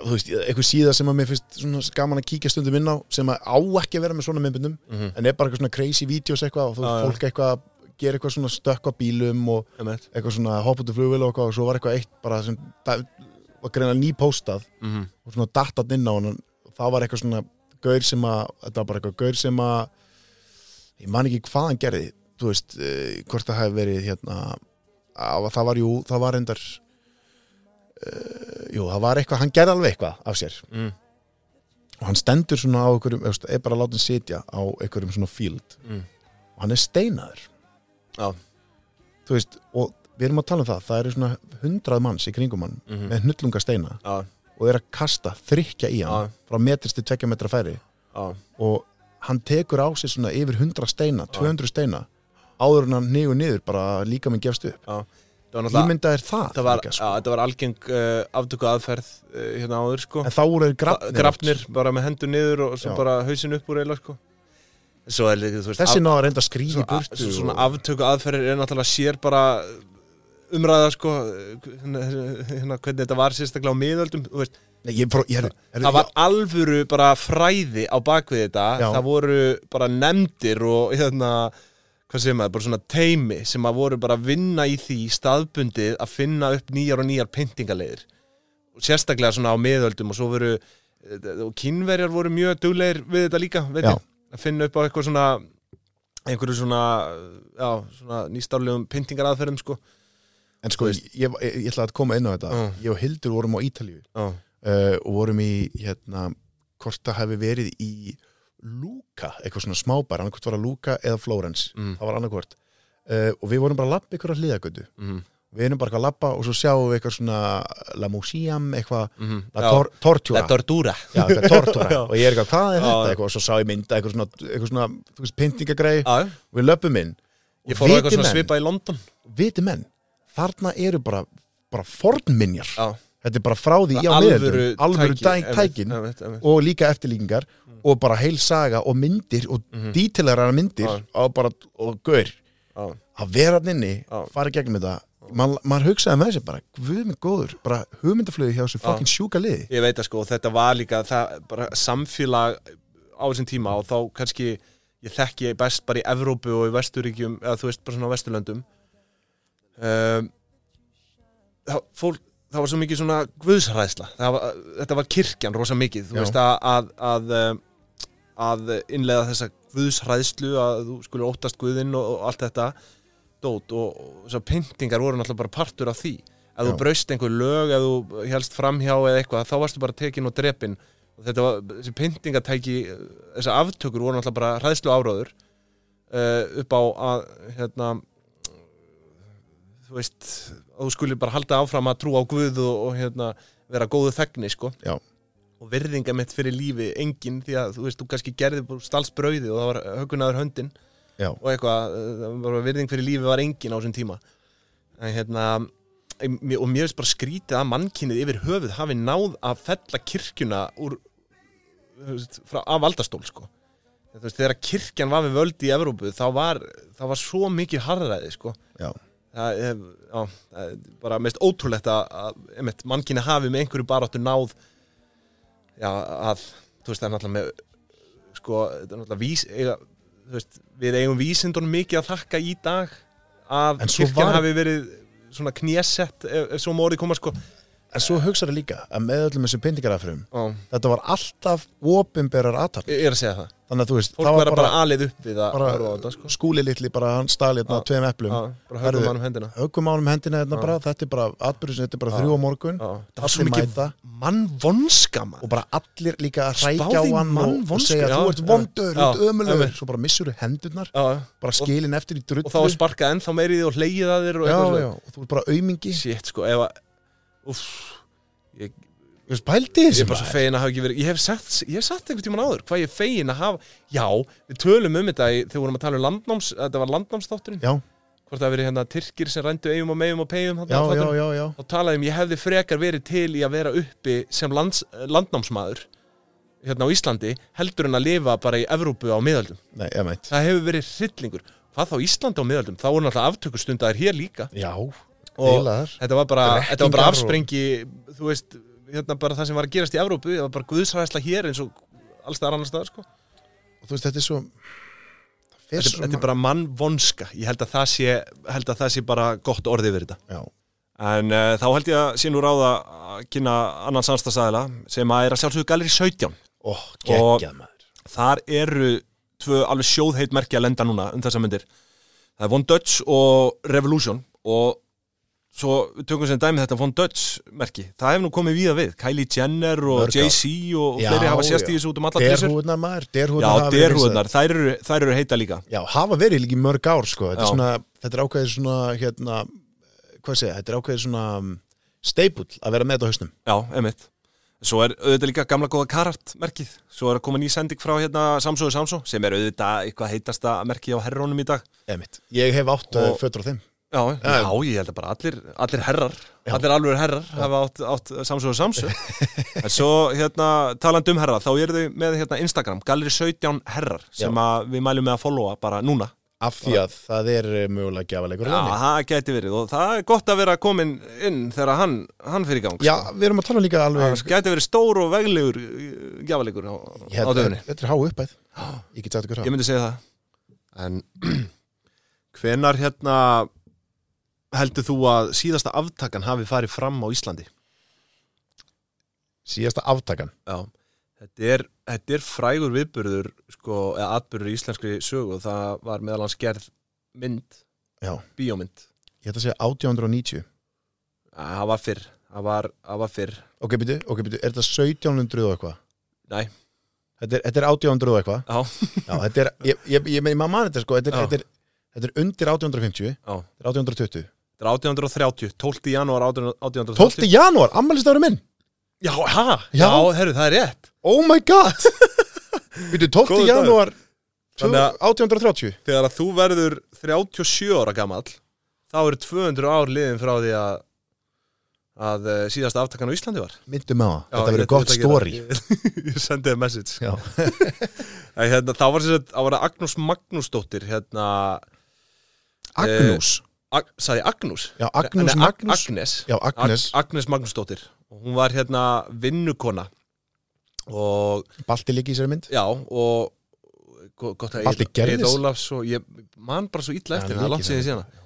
þú veist, eitthvað síða sem að mér finnst svona gaman að kíkja stundum inn á sem að á ekki að vera með svona myndbundum Mhm. en er bara eitthvað svona crazy videos eitthvað og þú veist, Já, já. fólk eitthvað að gera eitthvað svona stökkva bílum og einmitt. eitthvað svona hoppa út í flugvél og eitthvað og svo var eitthvað eitt bara sem da- var greina nýpóstað Mhm. og svona dattat inn á hann og það var eitthvað svona gaur sem að þetta var bara eitthvað gaur sem að ég man ekki hvað hann gerði þú veist, uh, hvort það hefði verið hérna að það var jú, það var endar uh, jú, það var eitthvað, hann gerði alveg eitthvað af sér Mm. og hann stendur svona á einhverjum, þú veist, er bara látið sitja á einhverjum svona field Mm. og hann er steinaður Já. þú veist, og við erum að tala um það það eru svona hundrað manns í kringum hann Mhm. með hnullunga steina Já, og er að kasta, þrykja í hann Já. frá metrist til tvekja metra færi já, og hann tekur á sig svona yfir 100 steina, 200 steina áður en hann niður niður bara líka minn gefst upp já. Það var náttúrulega ímynda er það, það var, líka, já, sko. þetta var algeng uh, aftöku aðferð uh, hérna áður sko en þá voru þeir grafnir, grafnir bara með hendur niður og svo Já. bara hausinn upp úr eila sko Svo er líka, þú veist, þessi náður reynda að skrýja í svo, burtu svo, svona og- aftöku aðferðir er náttúrulega sér bara umræða sko hérna, hérna hvernig þetta var sérstaklega á miðöldum þú veist, Nei, ég, frá, ég, er, er, það var alvöru bara fræði á bakvið þetta, Já. það voru bara nefndir og hérna hvað segir maður, bara svona teimi sem að voru bara að vinna í því staðbundið að finna upp nýjar og nýjar pyntingaleiðir og sérstaklega svona á miðöldum og svo voru, eh, og kínverjar voru mjög duglegir við þetta líka, veit Já. ég að finna upp á eitthvað svona einhverju svona, já, svona nýstárlegum pyntingaraðferðum sko en sko, ég, ég, ég ætla að koma inn á þetta Mm. ég og Hildur vorum á Ítalíu Já, uh, og vorum í hérna, hvort það hefði verið í Lúka, eitthvað svona smábær annarkvort var að Lúka eða Flórens Mm. það var annarkvort uh, og við vorum bara að labba ykkur að hliðagötu mhm, við erum bara eitthvað að labba og svo sjáum við eitthvað svona La Museum, eitthvað mhm La Já. tor Tortura La Tortura Já, eitthvað tortura Já. og ég er eitthvað, hvað er Já, þetta já. eitthvað, og svo sá ég mynda eitthvað svona, eitthvað svona þú veist, pyntingagræði, Já, við löpum inn ég fór á eitthvað viti svona menn, svipa í London viti menn, þarna eru bara, bara fornminjar Já, þetta er bara frá því í á miðöldum, alvöru tæk, tækin og líka eftirlíkingar og bara heil saga og myndir og mm Mhm. myndir Já. og bara, og gaur og að vera hann inni, Já. fara í gegnum þetta Man, maður hugsaði með þessi bara, guð minn góður bara hugmyndaflöði hjá þessu Já. fucking sjúka liði Ég veit að sko, þetta var líka það, bara samfélag á þessum tíma og þá kannski ég þekki best bara í Evrópu og í Vesturíkjum eða þú veist, bara svona á Vesturlöndum um, þá, fólk, það var svo mikið svona guðsræðsla, Það var, þetta var kirkjan rosa mikið, þú Já. veist að að, að, um, að innlega þessa guðsræðslu að þú skulle óttast guðinn og, og allt þetta dót og, og þessar pyntingar voru náttúrulega bara partur af því ef þú Já. braust einhver lög, ef þú helst framhjá eða eitthvað, þá varstu bara tekin og drepin og þetta var, þessi pyntingatæki þessar aftökur voru náttúrulega bara hræðslu áráður uh, upp á að hérna þú veist, að þú skulle bara halda áfram að trúa á Guð og, og hérna vera góðu þegni, sko Já. og virðinga mitt fyrir lífi engin því að þú veist, þú kannski gerði bara stalsbrauði og það var höggunaður höndin Já. og eitthvað, eh, það var virðing fyrir lífi var engin á þessum tíma en hérna em, mér- og mér veist bara skrítið að mannkinnið yfir höfuð hafi náð að fella kirkjuna úr þú veist, frá, af valdastól sko Þú veist, þegar kirkjan var við völdi í Evrópu þá var, þá var svo mikið harðræði sko Já. það er, já, það er bara mest ótrúlegt að, að einmitt, mannkyni hafi með einhverju baráttu náð já, að þú veist, það er náttúrulega með sko, þetta er náttúrulega vís eiga, þú veist, við eigum vísindunum mikið að þakka í dag að En svo kirkjan var- hafi verið svona knésett ef, ef svo mórið koma sko en svo hugsaði líka að með öllum þessum pyntingarafrum Ó, þetta var alltaf opinberar aðtap ég er að segja það þannig að þú veist, fólk það var var bara, bara, bara alið upp við að bara, horfa á þetta, sko. skúli litli bara hann stali hérna Já. tveim eplum Já, bara höfum Herðu. hann um hendina höggum ánum hendina hérna Já. bara, þetta er bara atbyrjusin, þetta er bara Já. þrjú á morgun Já. það var svo allir mikið mæta mann vonska mann og bara allir líka að Spá hrækja á því hann og, og mannvonsku, segja já, þú ert já. vondur, þú ert Já, ömulegur einmitt. svo bara missur þú hendurnar, já, bara skilin eftir í drullu og þá var sparkað ennþá meirið og hleyið að þér og já, eitthvað svoleiðis. já, og þú ert bara aumingi Shit, sko, ef að Úff, ég, Þú veist, pældi ég þessi er bara svo maður. fegin að hafa ekki verið Ég hef sagt, ég hef sagt einhvern tímann áður Hvað ég er fegin að hafa Já, við tölum um þetta í, Þegar við vorum að tala um landnáms Þetta var landnámsþátturinn já, Hvort það hafi verið hérna Tyrkir sem rændu eigum og meigum og peyjum já, já, já, já, Þá talaði um ég hefði frekar verið til í að vera uppi Sem lands, landnámsmaður Hérna á Íslandi Heldur en að lifa bara í Evrópu á miðaldum nei, ég meint Það hefur verið hryllingur Hvað þá Íslandi á miðaldum? Þá voru náttúrulega aftökustundar hér líka já, Og- heilaðar þetta var bara, Drekkingar þetta var bara og- afsprengi þú veist, hérna bara það sem var að gerast í Evrópu það var bara guðsræðsla hér eins og alls það annars staðar sko og þú veist, þetta er svo það fer þetta, svo þetta ma- er bara mann vonska, ég held að það sé held að það sé bara gott orðið yfir þetta já, en uh, þá held ég að sé nú ráða að kynna annan samstagsæðila sem að er að sjálfsögðu galeri 17 ó, geggjað maður þar eru tvö alveg sjóðheit merki að lenda núna um þessa myndir það er Von Dutch og Revolution og svo við tökum sem dæmi þetta Von Dutch merki það hefur nú komið víða við, Kylie Jenner og Mörg á. Jay-Z og Já, fleiri hafa sést í já. þessu út um allar trissur derhúðnar maður, Já, derhúðnar hafa verið derhúðnar, þær eru, þær eru heita líka Já, hafa verið líka í mörg ár sko. þetta, er Já. svona, þetta er ákveðið svona hérna, hvað segja, þetta er ákveðið svona um, steipull að vera með þetta á hausnum Já, emitt Svo er auðvitað líka gamla góða karart merkið Svo er að koma ný sending frá hérna Samsó og Samsó sem er auðvitað eitthvað heitasta merkið á herrónum í dag Einmitt. Ég hef átt Og- og... fötur á þeim Já, já, ég held að bara allir, allir herrar, Já. allir alveg herrar hafa átt, átt samsöðu samsöðu. en svo hérna, talandi um herrar, þá eru þau með hérna, Instagram, Galleri 17 herrar, sem Já. að við mælum með að followa bara núna. af því að það er eh, mögulega gjafaleikur Já, á lánið. það gæti verið og það er gott að vera komin inn þegar hann, hann fyrir í gang. sko. Já, við erum að tala líka alveg Það gæti verið stór og veglegur eh, gjafalegur á, á Hérna, döfni. Þetta er há uppæð Ég get sagt ykkur Ég það myndi segja það En hvenar hérna heldur þú að síðasta aftakan hafi farið fram á Íslandi? Síðasta aftakan Já, þetta er, þetta er frægur viðburður sko, eða atburður í íslenskri sögu og það var meðal hans gerð mynd, Já. bíómynd Ég ætla að segja Æ, 1890 Það var fyrr, það var, það var fyrr Ok, byrju, ok, byrju, er þetta 1700 og eitthvað? Nei. Þetta er, þetta er 1800 og eitthvað Já, Já, þetta er, ég, ég, ég, ég maður þetta sko þetta er, Já. þetta, er, þetta er undir 1850 já Þetta er 1820 Þetta er 1830, 12. janúar 1830 12. janúar, ammælisdagur minn Já, ha, já, Já. herru, það er rétt Oh my god Býtu, 12. Góður dagur. janúar Þannig að- 1830 Þegar að þú verður 37 ára gamall þá eru 200 ár liðin frá því að að uh, síðast aftakan á Íslandi var myndum á það, Já, þetta ég- verður gott ég- ég- Eh, story ég, ég sendi þér message Já, Æ, hérna, þá var þess að var það Agnús Magnúsdóttir hérna, Agnús ag, sagði Agnús Já, Agnús, Nei, Ag- Magnús Agnes, Já, Agnes, Ag Agnes Magnúsdóttir og hún var hérna vinnukona og Balti líki í sér mynd já og go- gott að Balti gerðist. Ólafs og ég man bara svo illa Já, eftir henni, það er mikið langt séð þannig. síðan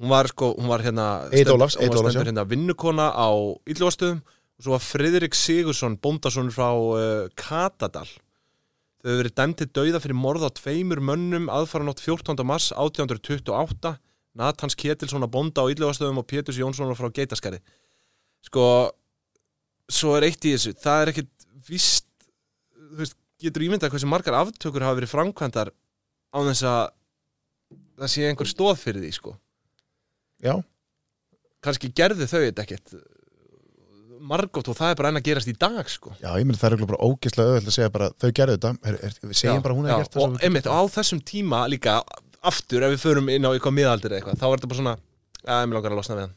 hún var sko, hún var hérna Egill stend- Ólafs, hún Egill var Ólafs, stendur hérna vinnukona á Ílljóðastöðum og svo var Friðrik Sigursson bóndasonur frá uh, Katadal þau hefur verið dæmd til dauða fyrir morð á tveimur mönnum aðfaranótt 14. mars 1828 Natans Ketilsson að bónda á Ílljóðastöðum og Péturs Jónsson frá Geitaskari sko svo er eitt í þessu, það er ekkit víst, þú veist, getur ímyndað hversu margar aftökur hafa verið framkvæmdar á þess að það sé einhver stóð fyrir því sko Já, kannski gerðu þau þetta ekkert margótt og það er bara enn að gerast í dag sko. já ég meni það er örugglega bara ógislega öðvöld að segja bara þau gerðu þetta, er, er, við segjum bara að hún Já, hefði gert það og einmitt á þessum tíma líka aftur ef við förum inn á eitthvað miðaldir eða eitthvað þá er þetta bara svona að mér langar að losna við hann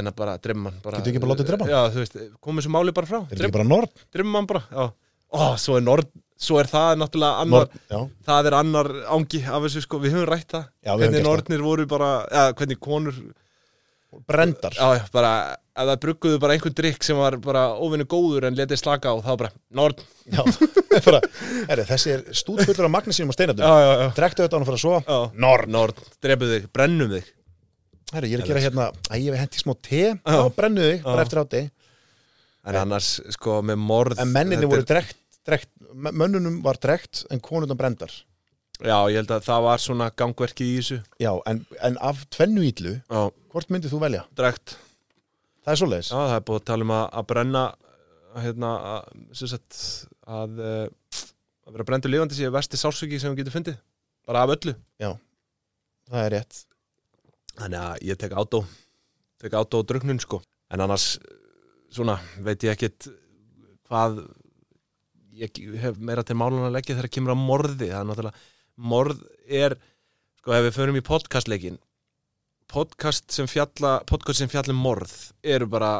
en að bara drefma hann Getur ekki bara látið drepa hann? já, þú veist, komum þessu máli bara frá Er ekki bara norn? drefma hann bara já. ó, svo er, nord, svo er það náttúrulega annar norn já. það er annar ángi af þessu sko, við höfum rætt það Já, hvernig við höfum gert það. nornir voru bara, eða hvernig konur Brendar já, já, bara, ef það brugguðu bara einhvern drikk sem var bara óvinni góður en letið slaka á, þá bara, norn Já, bara, er, þessi er stúdfullur af magnesium og steinatum já, já, Drektu þetta á hann að fara að sofa já Norn Norn, drepuð þig, brennum þig Herra, ég er að gera hérna, að ég hef henti smá te Já, brennu þig, bara eftir áti En annars, sko, með morð En menninni þetta voru er- drekt, drekt Mönnunum var drekt, en konunum brendar Já, ég held að það var svona gangverkið í þessu Já, en, en af tvennu ídlu Já, Hvort myndið þú velja? drekt Það er svoleiðis Já, það er búið að tala um að, að brenna að, hérna, að, sem sagt að, eh, að vera brendur lifandi séu versti sársöki sem við getum fundið bara af öllu Það er rétt Þannig að ég tek átó tek átó og drugnun sko en annars svona veit ég ekkit hvað ég hef meira til málun að leggja þegar kemur á morði það er náttúrulega morð er sko ef við förum í podcastleikin podcast sem fjalla podcast sem fjalla um morð eru bara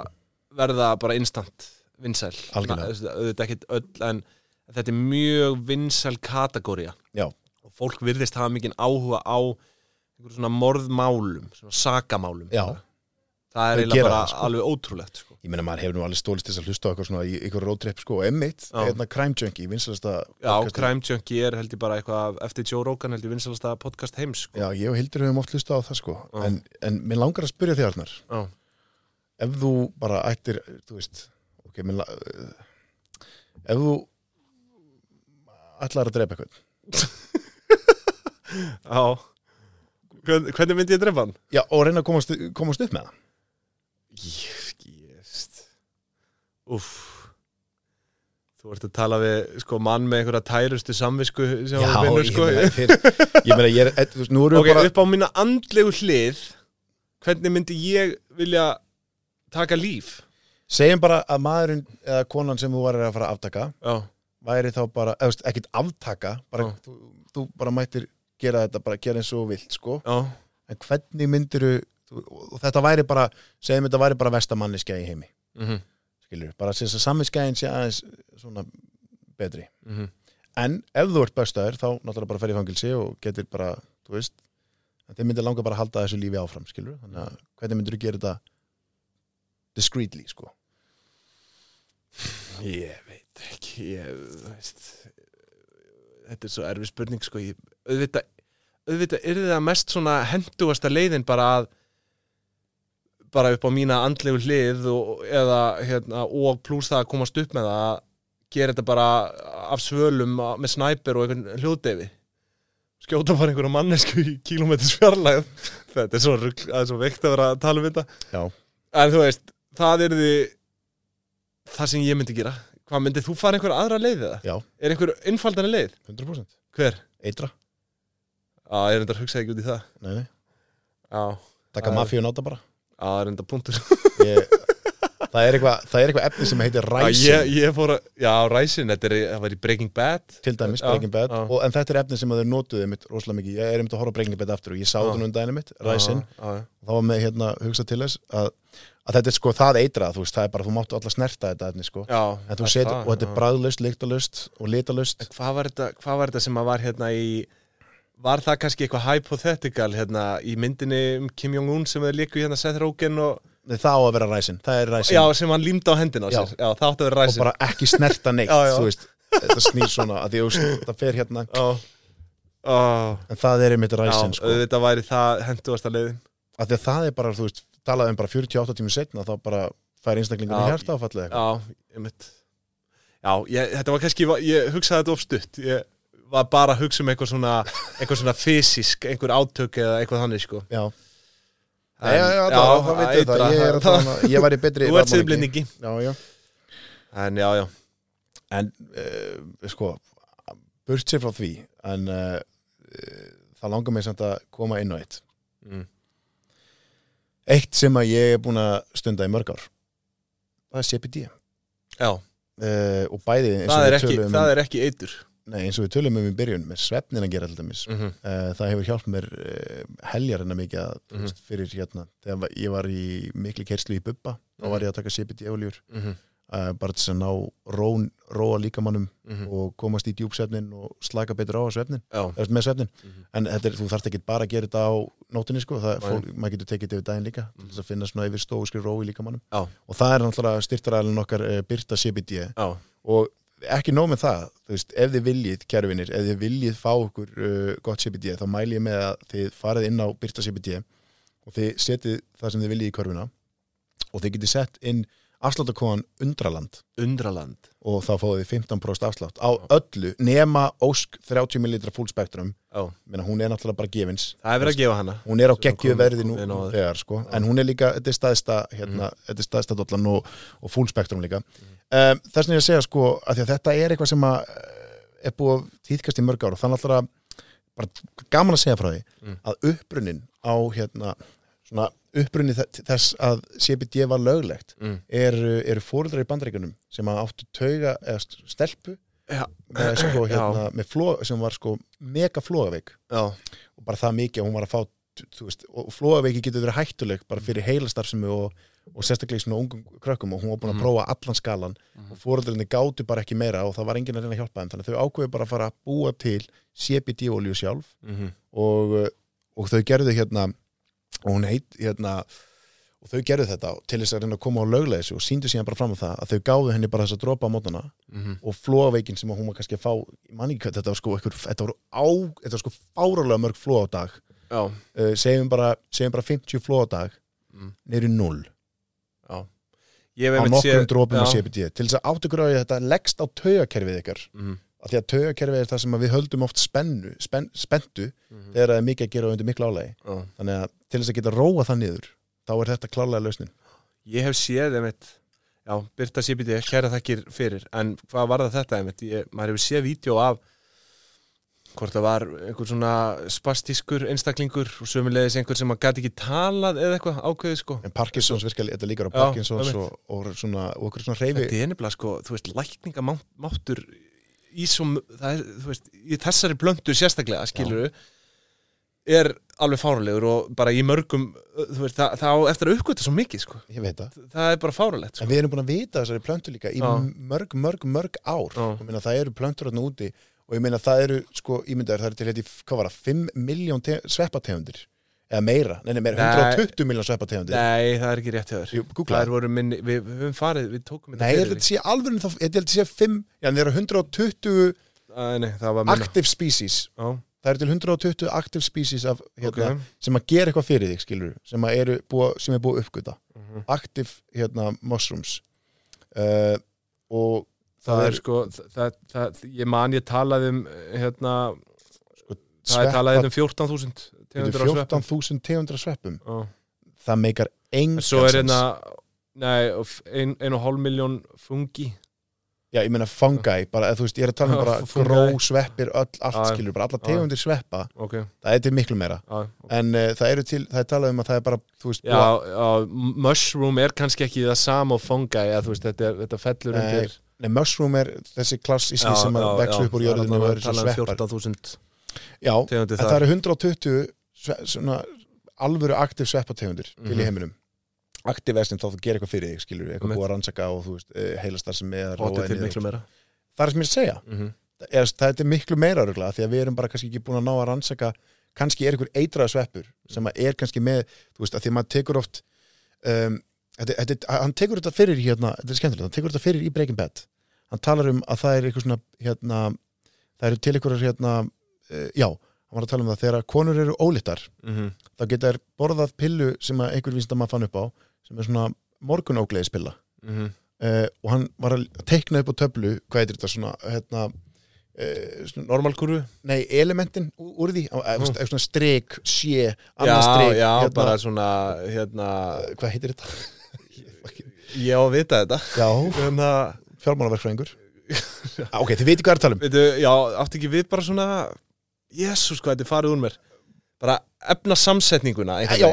verða bara instant vinsæl Na, Algjörlega. þú veist, auðvitað ekkit öll en þetta er mjög vinsæl kategória Já. og fólk virðist hafa mikinn áhuga á einhverjum svona morðmálum, svona sakamálum Já. það Þau er eiginlega gera bara það, sko. alveg ótrúlegt sko. Ég meina maður hefur nú alveg stólist þess að hlusta á eitthvað svona í eitthvað roadtrip sko og emmitt, Já. hérna Crime Junkie, vinsalasta Já, Crime Junkie er held ég bara eitthvað af- eftir Joe Rogan held ég vinsalasta podcast heims sko. Já, ég og Hildur hefum oft hlusta á það sko Já. en, en mér langar að spyrja þig Arnar Já. ef þú bara ættir þú veist, ok, mér la... eh, ef þú ætlar að drepa eitthvað Já Hvern, Hvernig myndi ég drefa hann? Já, og reyna að komast, komast upp með það Jésst Úff Þú ert að tala við sko, mann með einhverja tærustu samvisku sem hann vinnur ég sko. meina, þeir, ég meina, ég er, eh, þú veist, nú erum Ok, við bara upp á mína andlegu hlið hvernig myndi ég vilja taka líf? segjum bara að maðurinn eða konan sem þú varir að fara að aftaka Já, væri þá bara, eða þú veist, ekkert aftaka bara, Já. þú, þú bara mættir gera þetta, bara gera eins og þú vilt, sko já en hvernig myndiru og þetta væri bara, segjum þetta væri bara vestamanniska í heimi, mm -hmm. skilur bara sem þess að saminskæðin sé aðeins svona betri, Mm-hmm. en ef þú ert bestaður, þá náttúrulega bara ferði fangilsi og getur bara, þú veist en þeir myndir langa bara að halda þessu lífi áfram, skilur þannig að hvernig myndiru gera þetta discreetly, sko Ég veit ekki ég, þú veist, Þetta er svo erfið spurning sko. ég, auðvitað, auðvitað er það mest svona hendugasta leiðin bara að bara upp á mína andlegu hlið og, eða, hérna, og pluss það að komast upp með það að gera þetta bara af svölum á- með snæper og einhvern hljóðdefi skjóta bara einhverja mannesku í kílómetris fjarlæð þetta er svo, rugl, það er svo veikt að vera að tala um þetta Já. en þú veist, það er því það sem ég myndi gera hvað myndið þú fara einhver aðra leið eða? Já. er einhver innfaldana leið? 100% hver? eitra, á, ég er enda að hugsa ekki út í það nei, nei, á, Það taka er- mafíu náta bara á, er enda punktur ég, það er eitthvað það er eitthvað efni sem heitir Ræsin. ræsing Ég, ég fór að, já, Ræsin, þetta er, það var í Breaking Bad. til dæmis Já, Breaking Bad já. og, en þetta er efni sem að þeir notuðu mitt rosalega mikið ég er einmitt að horfa á Breaking Bad aftur og ég sá Já. það um dæni mitt ræsing Já, já, já. þá var með hérna hugsa til þess að, að þetta er sko það eitrað þú veist það er bara þú máttu alla snerta þetta efni sko Já, en þú það setur það, og þetta er já. bræðlust, lyktalust og litalust En Hvað var þetta, hvað var þetta sem að var hérna í Var það kannski eitthvað hypothetical hérna í myndinni um Kim Jong-un sem þau líku hérna Seth Rogen og Nei, það á að vera ræsin, það er ræsin Já, sem hann límdi á hendina á Já. sér Já, það átti að vera og ræsin bara ekki snerta neitt Já, já. þú veist, þetta snýr svona að því þú veist, það fer hérna Já, Já. en það er einmitt ræsin já sko. auðvitað væri það henduasta leiðin að því að það er bara, þú veist, talað um bara 48 tímur setna þá bara fær einstaklingunni Já. hjarta áfallið eitthvað Já, ég mitt Já, ég, þetta var kannski, ég hugsaði þetta of stutt Ég var bara að hugsa um eitthvað svona eitthvað svona fysisk, einhver átök eða eitthvað þannig sko Já, En- já, já, það, það veitum eitra, það, ég er að það- tala ég væri betri Þú ert raðmorðingi. siðblindingi Já, já, En já, já, en uh, sko, burt sér frá því en uh, uh, það langar mig samt að koma inn á eitt mm. eitt sem að ég er búin að stunda í mörg ár það er CPD já uh, og bæði eins og það við er, ekki, tölum um- það er ekki eitur Nei, eins og við tölum um í byrjun með svefnin að gera til dæmis mm. það hefur hjálpt mér uh, heljar hennar mikið að, mm. Mhm. veist, fyrir hérna þegar va- ég var í mikli kerslu í bubba þá Mhm. var ég að taka CBD-oljur uh, bara til þess að ná rón, róa líkamannum mhm. og komast í djúpsvefnin og slaka betur á að svefnin Mhm. Já, eða með svefnin, Mhm. en þetta er, þú þarft ekki bara að gera þetta á nótinni sko, það, er Nei. Mhm. fólk, maður getur tekið þetta yfir daginn líka til þess að finna svona yfir stóðskri ró í líkamannum Já. og það er náttúrulega styrtaræðin okkar uh, Byrta CBD já, og ekki nóg með það þú veist, ef þið viljið, kjærvinir, ef þið viljið fá okkur uh, gott CBD þá mæli ég með að þið farið inn á Byrta CBD og þið setið það sem þið viljið í körfuna og þið getið sett inn afsláttakóðan undraland undraland og þá fáið þið 15% afslátt á öllu nema Ósk 30 ml full spectrum já. Meina, hún er náttúrulega bara gefins Það er verið að gefa hana hún er á Sem geggju kom- verði kom nú inn á nú það. Mm. þegar sko, en hún er líka, þetta er staðista hérna, þetta er staðista dollan og, og full spektrum líka um, þess vegna ég að segja sko að því að þetta er eitthvað sem að eh, er búið að týðkast í mörg ára þannig alltaf að bara gaman að segja frá því Mm. að uppbrunnin á hérna, svona uppbrunni þe- þess að CBD var löglegt mm. eru, eru fóreldrar í bandaríkunum sem að áttu tauga eða st- stelpu Já. með, sko, Já. hérna, með fló, sem var sko mega flogaveik Já, og bara það mikið að hún var að fá þú veist, og flóaveiki getur verið hættuleg bara fyrir heilastarfsemi og, og sérstaklega í svona ungum krökkum og hún var búin að Mhm. prófa allan skalan og fóreldrinni gátu bara ekki meira og það var enginn að reyna að hjálpa þeim þannig að þau ákveðu bara að fara að búa til CBD-olju sjálf mhm, og, og þau gerðu hérna og hún heit hérna og þau gerðu þetta til þess að reyna að koma á löglega þessu og síndu síðan bara fram á það að þau gáðu henni bara þess að dropa á mótana mhm og flóaveikin sem að hún var kannski að fá ég man ekki hvað þetta var sko, einhver, þetta var, á, þetta var sko fáralega mörg flóa á dag Já, uh, segjum, bara, segjum bara 50 flóa á dag Mm. niður í 0 ég á hef einmitt nokkrum séð- drópum af Já. CBD til þess að áttugur á því að þetta leggst á taugakerfið ykkar Mhm, af því að taugakerfið er það sem að við höldum oft spennu, spen, spentu mhm, þegar það er mikið að gera og undir miklu álagi já. þannig að til þess að geta róa það niður þá er þetta klárlega lausnin Ég hef séð einmitt Já, Byrta Sibiti, kæra þakkir fyrir En hvað var það þetta einmitt? Ég, maður hefur séð vídeo af hvort það var einhver svona spastískur einstaklingur og sömulegis einhver sem að gæti ekki talað eða eitthvað ákveðið sko en Parkinsons virkali, þetta líkar á Já, Parkinsons einmitt. og, og, svona, og okkur svona reyfi Þetta er nefnilega sko, þú veist, lækningamáttur í som, það er, þú veist, í þessari blöndu sérstaklega, skilur er alveg fárulegur og bara í mörgum, uh, þú veist, það, það á eftir að uppgöta svo mikið, sko. ég veit það Það er bara fárulegt, sko. En við erum búin að vita þessari plöntu líka í Já. mörg, mörg, mörg ár Já. og meina, það eru plöntur hérna úti og ég meina það eru, sko, ímyndaður það eru til hérna, í- hvað var það, 5 miljón sveppategundir eða meira, nei, nei, meira Nei. 120 miljón sveppategundir Nei, það er ekki rétt hjá þér. Jú, Það googla er það. voru minni, við við höfum farið, við tókum Nei, ég held að þetta sé alveg þá, ég held að þetta sé 5, já, það eru 120 Æ, nei, það var minna. active species Já, það eru til 120 active species af, ok. hérna, sem að gera eitthvað fyrir þig, skilur sem, að eru búa, sem er búið að uppgöta Mhm. active, hérna, mushrooms uh, og Það er sko, það, það, það, ég man ég talaði um, hérna, það er sveppa- talaði um 14.000 tegundir á sveppum. 14.000 tegundra sveppum Já. það meikar En engan svo er sens. hérna Nei, og f- ein, ein og hálf miljón fungi já, ég meina fungi, bara, eða þú veist, ég er að tala um Já, bara fungi. gró, sveppir, öll, allt Já, já. skilur, bara alla Já, já. tegundir sveppa, ok það er til miklu meira. já, En uh, það eru til, það er talað um að það er bara, þú veist, já, já, mushroom er kannski ekki það sama og fungi eða þú veist, þetta, er, þetta fellur Nei, undir Nei, mushroom er þessi klassíski sem að vexu upp úr jörðinu og eru svo sveppar. 14.000 Já, en um tegundir það þar eru 120 sve, svona alvöru aktiv sveppategundir til Mhm. í heiminum. Aktiv er sem þá þú gerir eitthvað fyrir þig, skilur, eitthvað Einmitt. búið að rannsaka og þú veist, eh, heilastar sem er og þetta er miklu meira Það er sem ég er að segja. mm -hmm. Er, það er miklu meira örgulega því að við erum bara kannski ekki búin að ná að rannsaka kannski er einhver eitraða sveppur sem að er kannski með, þú veist, að því að maður tekur oft um, þetta, þetta, hann tekur þetta fyrir hérna, þetta er skemmtilegt, hann tekur þetta fyrir í Breaking Bad hann talar um að það er eitthvað svona hérna, það eru til einhverjar hérna, uh, já, hann var að tala um það þegar að konur eru ólittar, Mm -hmm. þá geta þær borðað pillu sem að einhver vísinda maður fann upp á sem er svona morgunógleðispilla Mm -hmm. uh, og hann var að teikna upp á töflu hvað heitir þetta svona, hérna, uh, svona normalkurvu, nei elementin úr, úr því, uh, mm. svona strik sé, annað já, strik já, hérna, bara svona hérna, eh, hvað heitir þetta? ég á að vita þetta já, hérna, fjármálaverkfræðingur ah, ok, þið veitir hvað er að tala um veitu, já, áttu ekki við bara svona jésús, hvað þetta er farið úr mér bara efna samsetninguna Eh, já,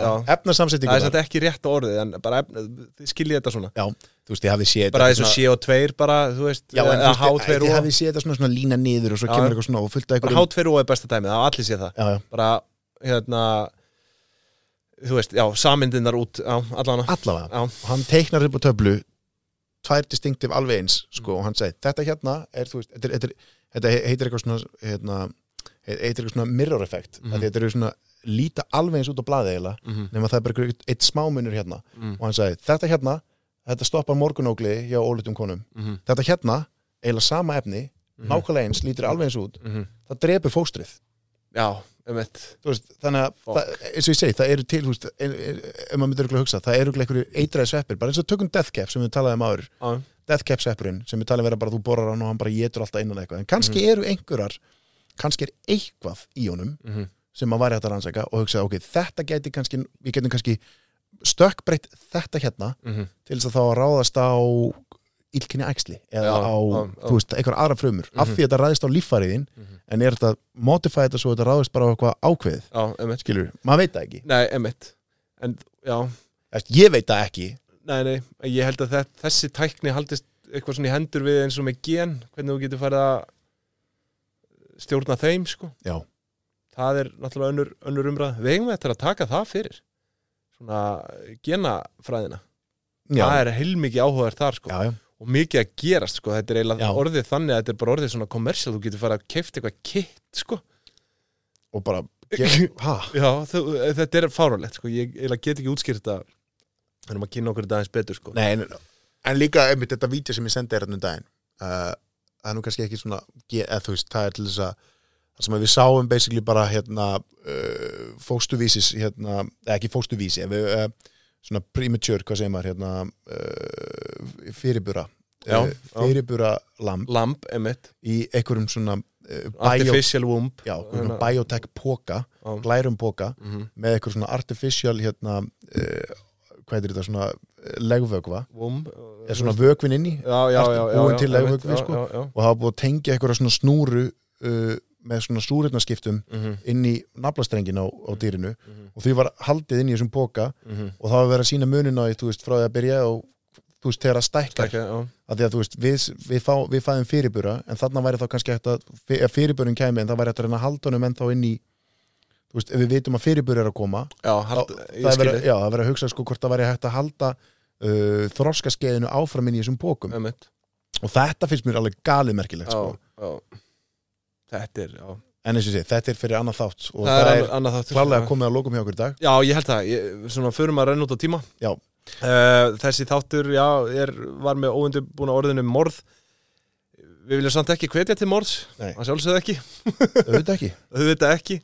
Já, já. það er efnasamsettinguna. þetta ekki rétt orðið en bara efna, þið skiljið þetta svona já, þú veist, ég hafði séð bara þetta eins og svona- CO2 bara, þú veist, já, en eða þú veist, H2O ég hafði séð þetta svona, svona lína niður og svo Já, kemur já. eitthvað svona og fullt að bara eitthvað H2O er besta dæmið, það allir sé það já, já, bara, hérna þú veist, já, samindinnar út já, allana, allavega já, og hann teiknar upp á töflu tvær distinktiv alveg eins sko, og hann segi þetta hérna er þú veist þetta, er- þetta, er- þetta heitir eitthvað svona hérna, he- heitir eitthvað svona mirror effect mm Mhm. -hmm. þetta eru svona líta alveg eins út á blaði eiginlega mhm, nema það er bara eitthvað- eitt, eitt smámunur hérna Mhm. og hann segi þetta hérna þetta stoppar morgunógli hjá ólutum konum mhm, þetta hérna eiginlega sama efni Mhm. nákvæmlega eins lítur alveg eins út mhm það drepur fóstrið já, um eitt Þú veist, þannig að, Fuck. það, eins og ég segi, það eru til, þú veist, ein- ein- ef maður myndir örugglega að hugsa, það eru einhverju eitraði sveppir, bara eins og tökum Death Cap sem við talaðum um áður, já, Death Cap sveppurinn sem við talaðum um vera bara, þú borar hann og hann bara getur alltaf innan eitthvað, en kannski eru einhverjar, kannski er eitthvað í honum mhm sem maður væri hægt að rannsaka og hugsa, ok, þetta geti kannski, við getum kannski stökkbreytt þetta hérna Mhm. til þess að þá að ráðast á illkynni æxli eða Já, á, já, já. þú veist, einhverja aðra frumur af því að þetta ræðist á líffæriðin Mhm. en er þetta, modify þetta svo þetta ráðist bara á eitthvað ákveðið já, um eitt skilur, maður veit það ekki nei, um eitt en, já, Eftir, ég veit það ekki Nei, nei, ég held að þe- þessi tækni haldist eitthvað svona í hendur við eins og með gen hvernig þú getur farið að stjórna þeim, sko Já. Það er náttúrulega önnur, önnur umræð Við eigum þetta að taka það fyrir svona genafræðina já, Það er heilmikið áhugaður þar, sko já, já, og mikið að gerast, sko, þetta er eiginlega Já. orðið þannig að þetta er bara orðið svona kommersial þú getur farið að keift eitthvað kitt, sko og bara ég, ha, Já, þú, eh, þetta er fáránlegt, sko ég eiginlega get ekki útskýrt þetta þannig að kynna okkur þetta aðeins betur, sko nei, en, en líka einmitt þetta vídeo sem ég sendi er hérna um daginn uh, það er nú kannski ekki svona ge- eða þú veist, það er til þess að það sem að við sáum basically bara hérna uh, fóstuvísis hérna, eða ekki fóstuvísi en við, uh, svona premature, hvað segir maður hérna uh, fyrirbura Já, uh, já. fyrirbura lamb Lamb, emitt, í einhverjum svona uh, bio, artificial womb já, einhverjum Hérna. biotech póka Já. glærum póka mm með eitthvað svona artificial hérna, uh, hvað er þetta svona eh, legvökva, Vum eða svona vökvin inni já, já, já, já, búin já, til einmitt, legvökvi, já, sko. já, já. og það var búið að tengja eitthvað svona snúru uh, með svona súrefnaskiptum Mhm, inn í naflastrengin á, á dýrinu mhm, og því var haldið inn í þessum póka mhm. og það var verið að sína munin á því, þú veist, frá því að byrja og þú veist, þegar það stækkar Takk, já. að því að þú veist, við, við, fá, við fæðum fyrirbura en þarna væri þá kannski hægt að fyr- ef fyrirburinn kæmi en það væri hægt að reyna að halda honum en þá inn í, þú veist, ef við vitum að fyrirbur er að koma Já, hald, það ég er verið, skilji já, það er verið að hugsa sko hvort það væri hægt að halda uh, þroskaskeiðinu áfram inn í þessum bókum Emmett og þetta finnst mér alveg galið merkilegt sko. Þetta er, já en eins og sé, þetta er fyrir annað þátt sko. og Það það, er er annað þáttur sko. klálega komið að lokum hjá okkur í dag Já, ég held það, ég, svona förum að renna út á tíma Já. Eh, Þessi þáttur, já, er, var með óundubúna orðinu morð Við viljum samt ekki hvetja til morðs Nei. Að sjálfsögðu ekki auðvitað ekki, auðvitað ekki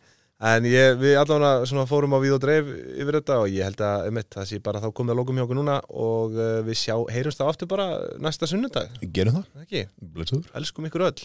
en ég, við allavega svona fórum á við og dreif yfir þetta og ég held að um það sé bara þá komið að lokum hjá okkur núna og eh, við sjá, heyrumst það aftur bara næsta sunnudag gerum það, ekki, blessuður elskum ykkur öll